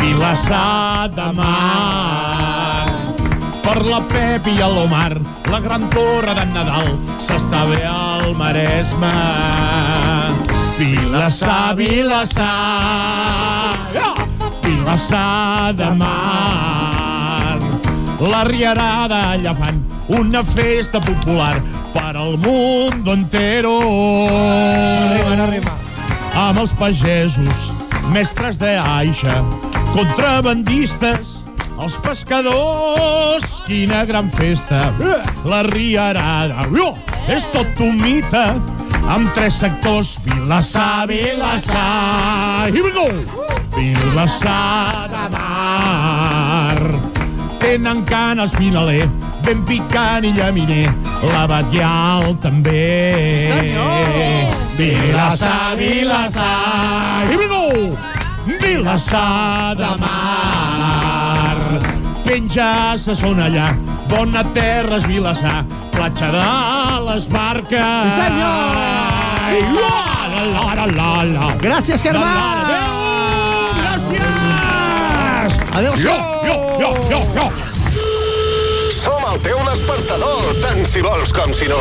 Vilassar de Mar. Per la Pep i l'Omar, la gran torre d'en Nadal, s'està bé al Maresme. Vilassar, Vilassar, ja! Vilassar de Mar. La riarada llevant, una festa popular per al mundo entero. Arriba, no arriba. Amb els pagesos, mestres de aixa, contrabandistes, els pescadors, quina gran festa. La riarada, oh, és tot un mite, amb tres sectors, Vilassar, Vilassar, here we go! Vilassar de Mar. Tenen can els Pinaler, ben picant i llaminer, la Batial també. Senyor! Vilassar, Vilassar, here we go! Vilassar de Mar. Penja se són allà, bona terra és Vilassar, platja de les barques. Senyor! La, la, la, la, la.
Gràcies, Germán!
Adéu, gràcies!
Adéu-siau!
Jo, jo, jo, jo, jo.
El teu despertador, tant si vols com si no.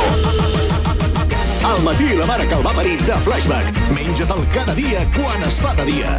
Al matí la mare que el va parir de Flashback. Menja-te'l cada dia quan es fa de dia.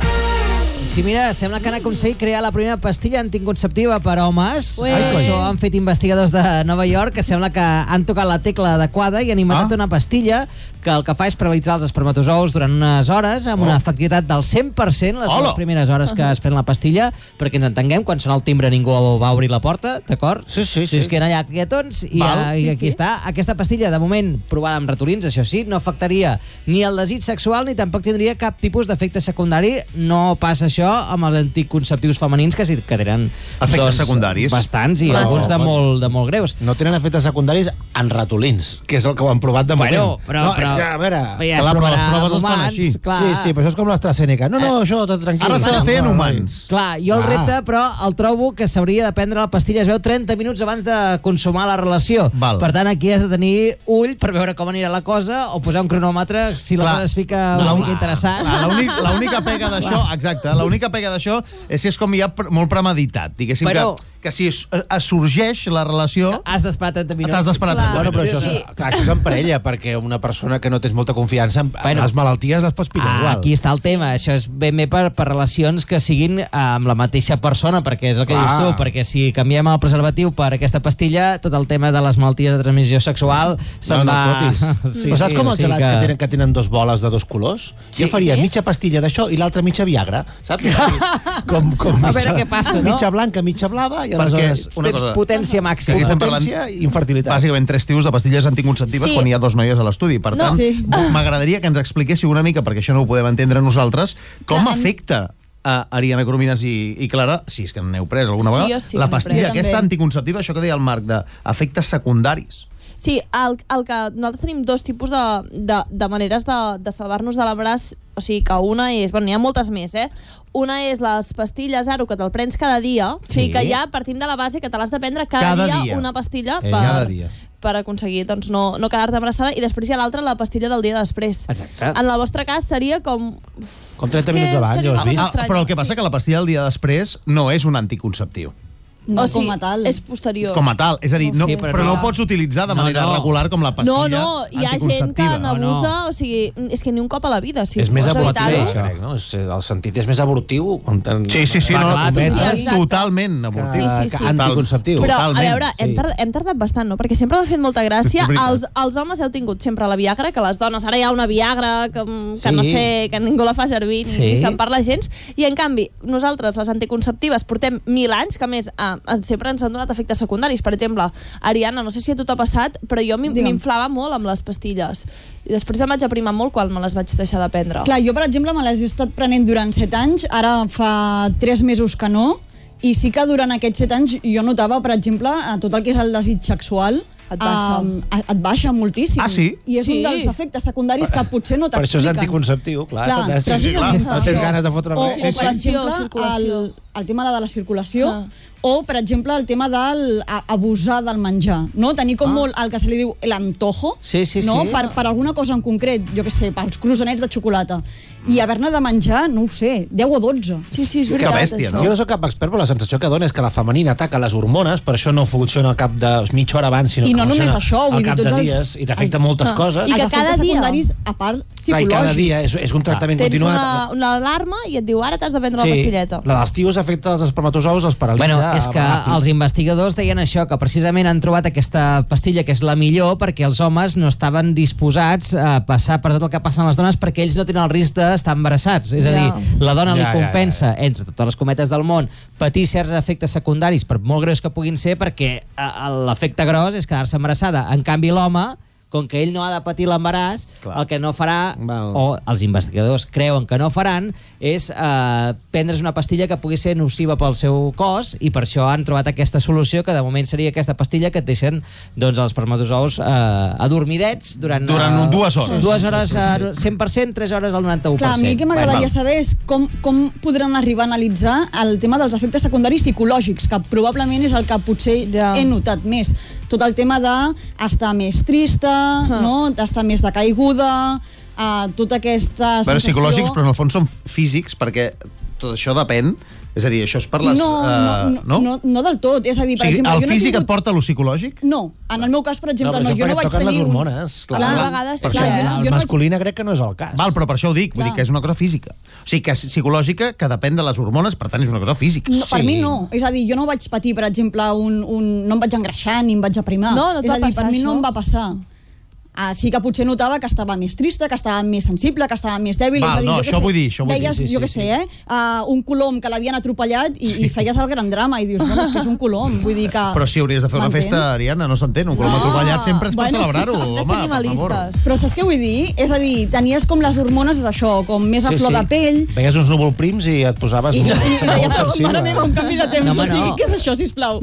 Sí, mira, sembla que han aconseguit crear la primera pastilla anticonceptiva per homes.
Ué.
Ai, Això han fet investigadors de Nova York, que sembla que han tocat la tecla adequada i han inventat ah. una pastilla que el que fa és paralitzar els espermatozous durant unes hores amb una efectivitat del 100% les
Hola.
dues primeres hores que es pren la pastilla, perquè ens entenguem, quan sona el timbre ningú va obrir la porta, d'acord? Sí, sí, sí. Si es queden allà quietons i,
Val.
a,
Sí,
i
sí.
aquí està. Aquesta pastilla, de moment, provada amb ratolins, això sí, no afectaria ni el desig sexual ni tampoc tindria cap tipus d'efecte secundari. No passa això amb els anticonceptius femenins que, Doncs, sí que tenen...
Efectes secundaris.
Bastants i
No.
alguns de molt, de molt greus.
No tenen efectes secundaris en ratolins, que és el que ho han provat de
Bueno,
moment.
però-
no,
però-
és que, a veure...
però ja
que
es
la-
provarà
les
en humans, clar. Eh,
Sí, sí, però això és com l'AstraZeneca. No, no, això, tot tranquil.
Ara s'ha de fer en humans.
Clar, jo el
Ah.
repte, però, el trobo que s'hauria de prendre la pastilla, es veu, 30 minuts abans de consumar la relació.
Val.
Per tant, aquí has de tenir ull per veure com anirà la cosa o posar un cronòmetre si la
Clar.
cosa es fica una
La-
mica interessant.
Clar, l'únic- L'única pega d'això, exacte, l'única pega d'això és que és com ja pr- molt premeditat, diguéssim
Però-
que, que si es, eh, es sorgeix la relació...
Has d'esperar 30 minuts.
T'has d'esperar 30
Bueno, però això,
minuts.
sí. clar, això és en parella, perquè una persona que no tens molta confiança, bueno, les malalties les pots pillar
Ah,
igual.
aquí està el tema. Això és ben bé per, per relacions que siguin eh, amb la mateixa persona, perquè és el que
Clar.
dius tu, perquè si canviem el preservatiu per aquesta pastilla, tot el tema de les malalties de transmissió sexual
no,
se'n va...
no fotis.
Sí,
Però saps
sí,
com
o
els
sigui
gelats que... tenen, que tenen dos boles de dos colors?
Sí,
jo faria
sí.
mitja pastilla d'això i l'altra mitja Viagra, saps? com, com
A veure què passa, no?
Mitja blanca, mitja blava, i
Perquè,
aleshores...
una
tens
cosa,
potència màxima.
Aquí estem parlant
Potència i infertilitat.
Bàsicament, tres tios de pastilles anticonceptives
Sí.
sí. quan hi ha dos noies a l'estudi. Per
No,
tant,
sí.
m'agradaria que ens expliquéssiu una mica, perquè això no ho podem entendre nosaltres, com afecta a Ariana Coromines i, i Clara, si és que n'heu pres alguna
Sí,
vegada,
jo sí que
la
n'he pres.
pastilla
Jo
aquesta
també.
anticonceptiva, això que deia el Marc, d'efectes secundaris.
Sí, el, el que nosaltres tenim dos tipus de, de, de maneres de, de salvar-nos de l'embaràs, o sigui que una és, bueno, n'hi ha moltes més, eh? Una és les pastilles Aro, que te'l prens cada dia, sí. o sigui
Sí.
que ja partim de la base que te l'has de prendre cada,
Cada
dia,
dia.
una pastilla
Eh,
per,
cada dia.
per aconseguir doncs, no, no quedar-te embarassada, i després hi ha l'altra, la pastilla del dia després.
Exacte.
En el vostre cas seria com...
Com
30 És que minuts abans, ja ho has seria vist. estrany,
Ah, però el que passa que la pastilla del dia després no és un anticonceptiu.
No, o sigui, com a tal. És posterior.
Com a tal. És a dir, no,
Sí,
però,
però
no
no.
ho pots utilitzar de
No,
manera
no.
regular com la
No,
pastilla
no, hi ha gent que
anticonceptiva.
n'abusa, no, no. o sigui, és que ni un cop a la vida. Si
és més
vols
abortiu,
evitar-ho-
això. Crec, no? És, el sentit és més abortiu.
Sí, sí, sí, no, total- totalment abortiu.
Sí, sí, sí.
Anticonceptiu.
Però,
Totalment,
a veure, hem,
sí.
tardat, hem tardat bastant, no? Perquè sempre m'ha fet molta gràcia.
És veritat.
Els, els homes heu tingut sempre la Viagra, que les dones, ara hi ha una Viagra que,
Sí.
que no sé, que ningú la fa servir ni-
Sí.
ni se'n parla gens. I, en canvi, nosaltres, les anticonceptives, portem mil anys, que a més eh, sempre ens han donat efectes secundaris. Per exemple, Ariana, no sé si a tu t'ha passat, però jo m'in-
Digue'm.
m'inflava molt amb les pastilles. I després em vaig aprimar molt quan me les vaig deixar de prendre.
Clar, jo, per exemple, me les he estat prenent durant 7 anys, ara fa 3 mesos que no, i sí que durant aquests 7 anys jo notava, per exemple, a tot el que és el desig sexual, et
baixa.
et baixa moltíssim.
Ah, sí?
I és
Sí.
un dels efectes secundaris que potser no
Per això és
t'expliquen.
anticonceptiu, clar.
Clar,
també, sí,
però
sí,
sí,
clar.
sí, sí.
No tens ganes de fotre
o,
res.
o, per exemple,
Circulació. Ah.
el, el tema de la circulació, o, per exemple, el tema del a- abusar del menjar, no? Tenir com molt
Ah.
el que se li diu l'antojo,
Sí, sí,
no?
sí.
Per, per alguna cosa en concret, jo que sé, pels croissants de xocolata. I haver-ne de menjar, no ho sé, 10 o 12.
Sí, sí, és
Jo no sóc cap expert, però la sensació que dona és que la femenina ataca les hormones, per això no funciona al cap de mitja hora abans, sinó
I
que
no només
funciona
això, vull
al
dir,
cap
tots
de
els- Ah.
dies, i t'afecta moltes coses.
I que cada dia... secundaris, a part,
Clar, i
psicològics.
cada dia és, és un tractament
Tens
continuat.
una, una alarma i et diu ara t'has de prendre la pastilleta.
La dels tios afecta els espermatozous, els paralitza...
Bueno, és que
abans.
els investigadors deien això, que precisament han trobat aquesta pastilla que és la millor perquè els homes no estaven disposats a passar per tot el que passen les dones perquè ells no tenen el risc d'estar embarassats. És a
Ja.
dir, la dona li
Ja, ja,
compensa, eh, entre totes les cometes del món, patir certs efectes secundaris, per molt greus que puguin ser, perquè eh, l'efecte gros és quedar-se embarassada. En canvi, l'home com que ell no ha de patir l'embaràs, el que no farà, Val. o els investigadors creuen que no faran, és eh, prendre's una pastilla que pugui ser nociva pel seu cos i per això han trobat aquesta solució que de moment seria aquesta pastilla que et deixen doncs, els espermatozous eh, adormidets durant...
Durant
eh,
dues hores.
Dues hores eh, al 100%, tres hores al 91%.
Clar, a mi el que m'agradaria saber és com, com podran arribar a analitzar el tema dels efectes secundaris psicològics, que probablement és el que potser ja. he notat més. Tot el tema d'estar més trista, no? d'estar més decaiguda, a tota aquesta sensació...
Bueno, psicològics, però en el fons són físics, perquè tot això depèn... És a dir, això és per les...
no, no, no, no, no del tot. És a dir,
O
per
sigui,
exemple,
el
jo no he
físic
tingut...
et porta a lo psicològic?
No, en el meu cas, per exemple, no,
però això
jo no
perquè
vaig
et toquen
tenir...
les
un-
hormones, clar.
clar,
A vegades, Per clar, això, eh? jo no vaig-
masculina crec que no és el cas.
Val, però per això ho dic, vull dir
Clar.
que és una cosa física. O sigui, que és psicològica, que depèn de les hormones, per tant, és una cosa física.
No, per mi no. És a dir, jo no vaig patir, per exemple, un, un... no em vaig engreixar ni em vaig aprimar.
No, no et
és
va
a dir,
passar
per mi
això?
no em va passar. Ah, sí que potser notava que estava més trista, que estava més sensible, que estava més dèbil. és
Val,
a dir, jo
no,
què
això
sé,
vull dir, això vull dir,
deies,
sí, sí,
jo què
sí.
sé, eh? Uh, un colom que l'havien atropellat i, sí. i feies el gran drama i dius, bueno, és que és un colom. Vull dir que...
Però si hauries de fer una
M'entens?
festa, Ariadna, no s'entén. Un colom
No.
Ah.
atropellat sempre és per
Bueno,
celebrar-ho,
hem de
home,
ser
per favor.
Però saps què vull dir? És a dir, tenies com les hormones, és això, com més a
Sí,
flor
sí.
de pell,
Veies uns núvols prims i et posaves...
I, i,
molt-
i deia,
molt
però,
sensible.
mare meva, un canvi de temps, no,
No, home,
o sigui,
no.
què és això, sisplau?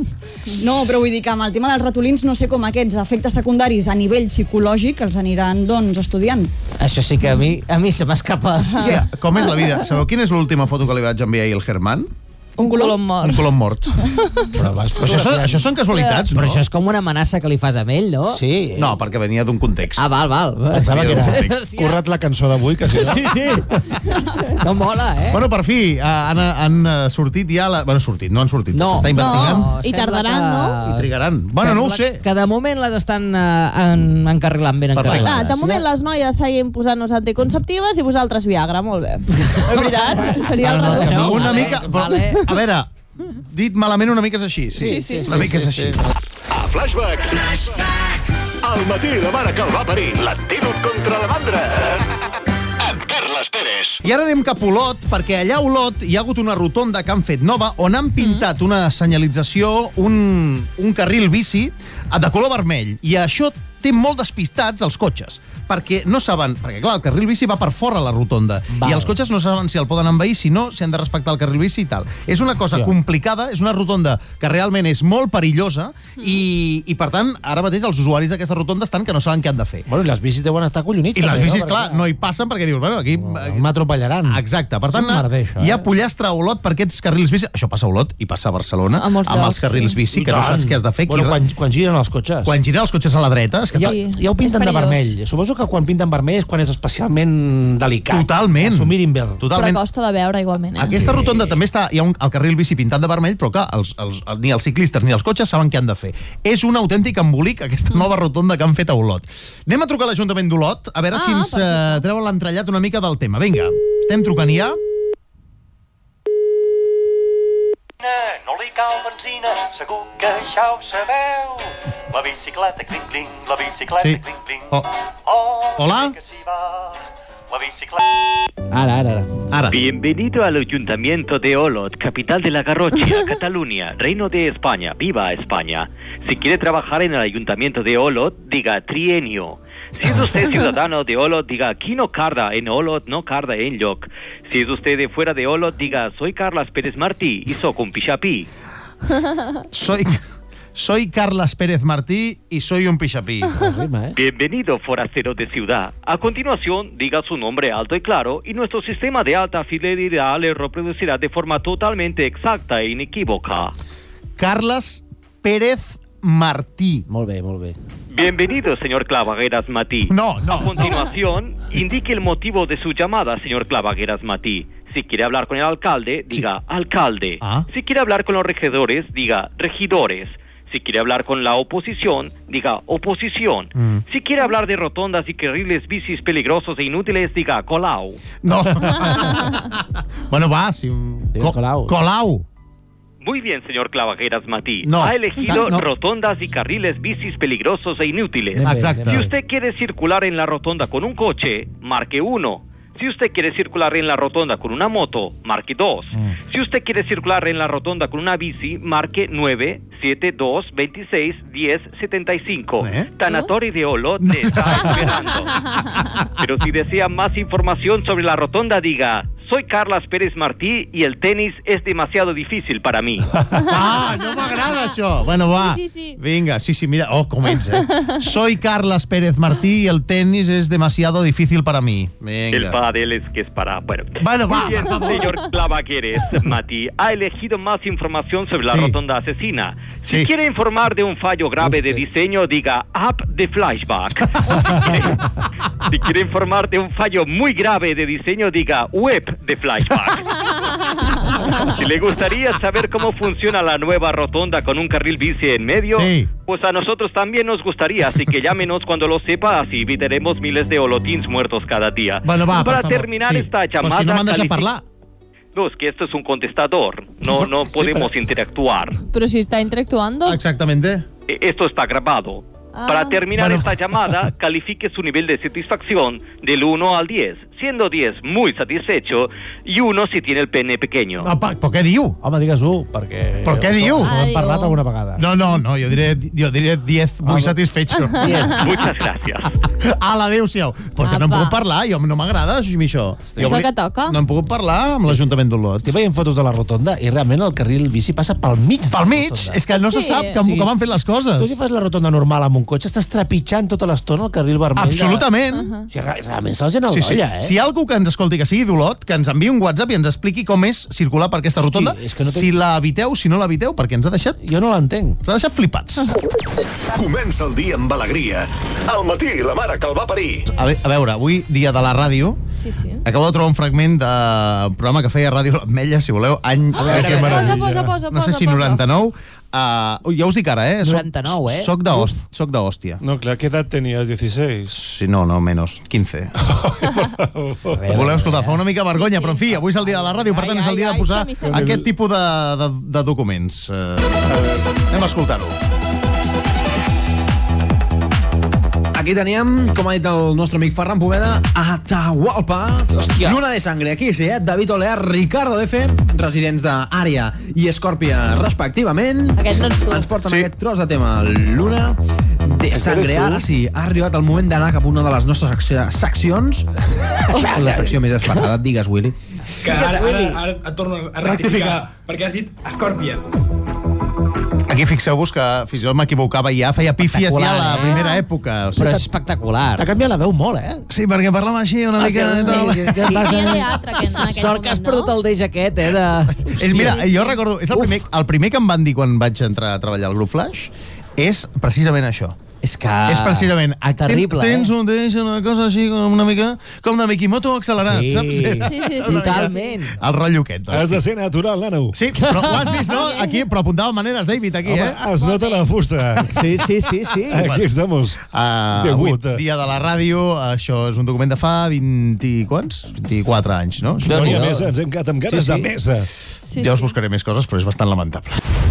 No, però vull dir que amb el tema dels ratolins no sé com aquests efectes secundaris a nivell psicològic els aniran, doncs, estudiant.
Això sí que a mi, a mi se m'escapa.
Hòstia, com és la vida? Sabeu quina és l'última foto que li vaig enviar ahir al Germán?
Un colom
Un colom mort. Però, vas, però això, són, això són casualitats,
Però
no?
això és com una amenaça que li fas a ell, no?
Sí. No, perquè venia d'un context.
Ah, val, val. Pensava que era...
Curra't la cançó d'avui, que sí.
Sí, sí. No mola, eh?
Bueno, per fi, eh, han, han eh, sortit ja... La... Bueno, sortit, no han sortit,
No.
s'està investigant.
No, I sembla tardaran, que- no?
I trigaran. Bueno, no ho sé.
Que de moment les estan eh, en, encarrilant ben
Clar,
Perfecte.
encarrilades.
Ah, de moment les noies seguim posant-nos anticonceptives i vosaltres Viagra, molt bé. De veritat, seria el ratolí.
No, una mica... Però, a veure, dit malament una mica és així. Sí,
Sí, sí,
una
sí,
mica
sí,
és així.
A Flashback. Flashback. Al matí la mare que el va parir. L'antídot contra la mandra. Amb Carles Pérez.
I ara anem cap a Olot, perquè allà a Olot hi ha hagut una rotonda que han fet nova on han pintat
Mm.
una senyalització, un, un carril bici eh, de color vermell. I això té molt despistats els cotxes, perquè no saben... Perquè, clar, el carril bici va per fora la rotonda, i els cotxes no saben si el poden envair, si no, si han de respectar el carril bici i tal. És una cosa
Hòstia.
complicada, és una rotonda que realment és molt perillosa,
Mm.
i, i per tant, ara mateix els usuaris d'aquesta rotonda estan que no saben què han de fer.
Bueno, i les bicis deuen estar collonits.
I les
també, no?
bicis,
Perquè,
clar, no hi passen perquè dius, bueno, aquí... M'atropellaran. Exacte. Per tant,
És un merder, això, eh?
hi ha pollastre a Olot per aquests carrils bici. Això passa a Olot i passa a Barcelona,
A
amb
molts llocs,
els carrils
sí.
bici,
I
que no
tant.
saps què has de fer.
Bueno, quan- giren els cotxes.
Quan giren els cotxes a la dreta... És que
Ja,
tal.
ja ho pinten de vermell. Suposo que quan pinten vermell és quan és especialment delicat.
Totalment.
S'ho mirin bé.
Totalment.
Però costa de veure igualment, eh?
Aquesta rotonda també està... Hi ha un, el carril bici pintat de vermell, però clar, els, els, ni els ciclistes ni els cotxes saben què han de fer. És un autèntic embolic, aquesta nova rotonda que han fet a Olot. Anem a trucar a l'Ajuntament d'Olot, a veure
Ah,
si ens eh, treuen l'entrellat una mica del tema. Vinga, estem trucant ja.
benzina, no li cal benzina, segur que ja ho sabeu. La bicicleta, cling, cling, la bicicleta,
Sí.
cling, cling.
Oh. Hola?
La bicicleta...
Ara, ara, ara.
Bienvenido al Ayuntamiento de Olot, capital de la Garrocha, Cataluña, Reino de España. ¡Viva España! Si quiere trabajar en el Ayuntamiento de Olot, diga trienio. Si es usted ciudadano de Olot, diga aquí no carda en Olot, no carda en Lloc. Si es usted de fuera de Olot, diga soy Carlas Pérez Martí y soy un pichapí.
Soy, soy Carles Pérez Martí y soy un pixapí.
Bienvenido, forastero de ciudad. A continuación, diga su nombre alto y claro y nuestro sistema de alta fidelidad le reproducirá de forma totalmente exacta e inequívoca.
Carles Pérez Martí.
Molt bé, molt bé.
Bienvenido, señor Clavagueras Matí.
No, no.
A continuación, indique el motivo de su llamada, señor Clavagueras Matí. Si quiere hablar con el alcalde, diga alcalde. Si quiere hablar con los regidores, diga regidores. Si quiere hablar con la oposición, diga oposición.
Mm.
Si quiere hablar de rotondas y carriles bicis peligrosos e inútiles, diga Colau.
No. bueno, va, si un... Co- Colau. Colau.
Muy bien, señor Clavajeras Matí.
No.
Ha elegido
Ah, no.
rotondas y carriles bicis peligrosos e inútiles.
Bien, Exacto. bien,
Si
bien.
usted quiere circular en la rotonda con un coche, marque uno. Si usted quiere circular en la rotonda con una moto, marque dos.
Mm.
Si usted quiere circular en la rotonda con una bici, marque 9, 7, 2, 26, 10, 75. Tanatori de Olot te está esperando. Pero si desea más información sobre la rotonda, diga Soy Carlas Pérez Martí y el tenis es demasiado difícil para mí.
Ah, no m'agrada això. Bueno, va.
Sí,
sí. Vinga, sí, sí, mira. Oh, comença. Soy Carlas Pérez Martí y el tenis es demasiado difícil para mí.
El
Vinga.
pádel es que es para... Bueno,
Bueno, va,
Muy bien,
por favor.
señor Clavaqueres, Mati, ha elegido más información sobre la rotonda asesina. Si quiere informar de un fallo grave de diseño, diga app de flashback. Si quiere- si quiere informar de un fallo muy grave de diseño, diga web de flashback. Si le gustaría saber cómo funciona la nueva rotonda con un carril bici en medio, pues a nosotros también nos gustaría, así que llámenos cuando lo sepa, así evitaremos miles de olotins muertos cada día.
Bueno, va,
Para
per favor,
terminar
sí.
esta
Però si
llamada...
no m'han deixat
calific-
parlar.
No, es que esto es un contestador, no, no podemos interactuar.
Pero si está interactuando.
Exactamente.
Eh, Esto está grabado.
Ah.
Para terminar esta llamada, califique su nivel de satisfacción del 1 al 10, siendo 10 muy satisfecho y 1 si tiene el pene pequeño.
Va, pa, però què diu?
Home, digues 1, perquè...
Per què diu?
Ho hem parlat alguna vegada.
No, no, no, jo diré, jo diré 10, muy satisfecho.
Bien.
Ah.
Muchas gracias.
Ala, adéu-siau. Perquè no em
Apa.
puc parlar, jo no m'agrada a mi això.
És el que toca.
No em puc parlar amb l'Ajuntament d'Olot.
Estic veient fotos de la rotonda i realment el carril bici passa pel mig.
Pel mig? És que no se Sí. sap com- com han fet les coses.
Tu que fas la rotonda normal amb un cotxe, estàs trepitjant tota l'estona el carril vermell. de-
Absolutament.
O sigui, re- realment se'ls en
sí, sí.
ja, eh?
Si hi ha algú que ens escolti que sigui d'Olot, que ens enviï un WhatsApp i ens expliqui com és circular per aquesta rotonda,
és que no té-
si la eviteu, si no la eviteu, perquè ens ha deixat...
Jo no l'entenc.
Ens ha deixat flipats.
Comença el dia amb alegria. Al matí, la mare que el va parir.
A, ve a veure, avui, dia de la ràdio,
Sí, sí.
acabo de trobar un fragment de un programa que feia Ràdio l'Ametlla, si voleu, any...
A veure,
que
a veure.
meravella.
Posa, posa, posa,
no sé si
posa.
99... Uh, ja us dic ara, eh? Soc-
99, eh?
Soc d'Hòst- soc d'Hòstia.
No, clar, què edat tenies? 16?
Sí, no, no, menos. 15. Ho voleu escoltar, fa una mica vergonya, però en fi, avui és el dia de la ràdio, per tant és el dia de posar
que a mi se'm-
aquest tipus de, de, de documents. Eh, anem a escoltar-ho.
Aquí teníem, com ha dit el nostre amic Ferran Poveda, Atahualpa, Hòstia. Luna de Sangre, aquí sí, eh? David Olear, Ricardo F, residents d'Àrea i Escòrpia, respectivament. Aquest no ets tu. Ens porten sí. aquest tros de tema, Luna de
Aquest
Sangre.
eres tu?
Ara sí, ha arribat el moment d'anar cap a una de les nostres sec- seccions. La secció més esperada, digues, Willy.
Que ara, ara, ara et torno a rectificar, perquè has dit Escòrpia.
Aquí fixeu-vos que fins i tot m'equivocava ja, feia pífies ja a la
Espectacular, eh?
primera època. O sigui,
Però és espectacular.
T'ha canviat la veu molt, eh? Sí, perquè parlem així una mica...
Hòstia,
de
Ah, sí, sí, sí, sí, sí, sí. Sort que has perdut el deix aquest, eh? De...
És, mira, jo recordo, és el primer, el primer que em van dir quan vaig entrar a treballar al grup Flash, és precisament això.
És que...
és precisament...
És terrible, eh?
tens, tens un deix, una cosa així, com una mica... Com de Mikimoto accelerat,
Sí.
saps? Era
Sí,
una mica
totalment.
El rotllo aquest, doncs.
Has de ser natural, nano.
Sí, però ho has vist, no? Aquí, però apuntava maneres, David, aquí,
Home,
eh?
es nota la fusta.
Sí, sí, sí, sí.
Aquí estamos.
Uh,
Déu
avui,
guaita.
dia de la ràdio, això és un document de fa 20 i quants? 24 anys, Doncs no?
No hi ha mesa, ens hem quedat amb ganes de mesa.
Ja us buscaré més coses, però és bastant lamentable.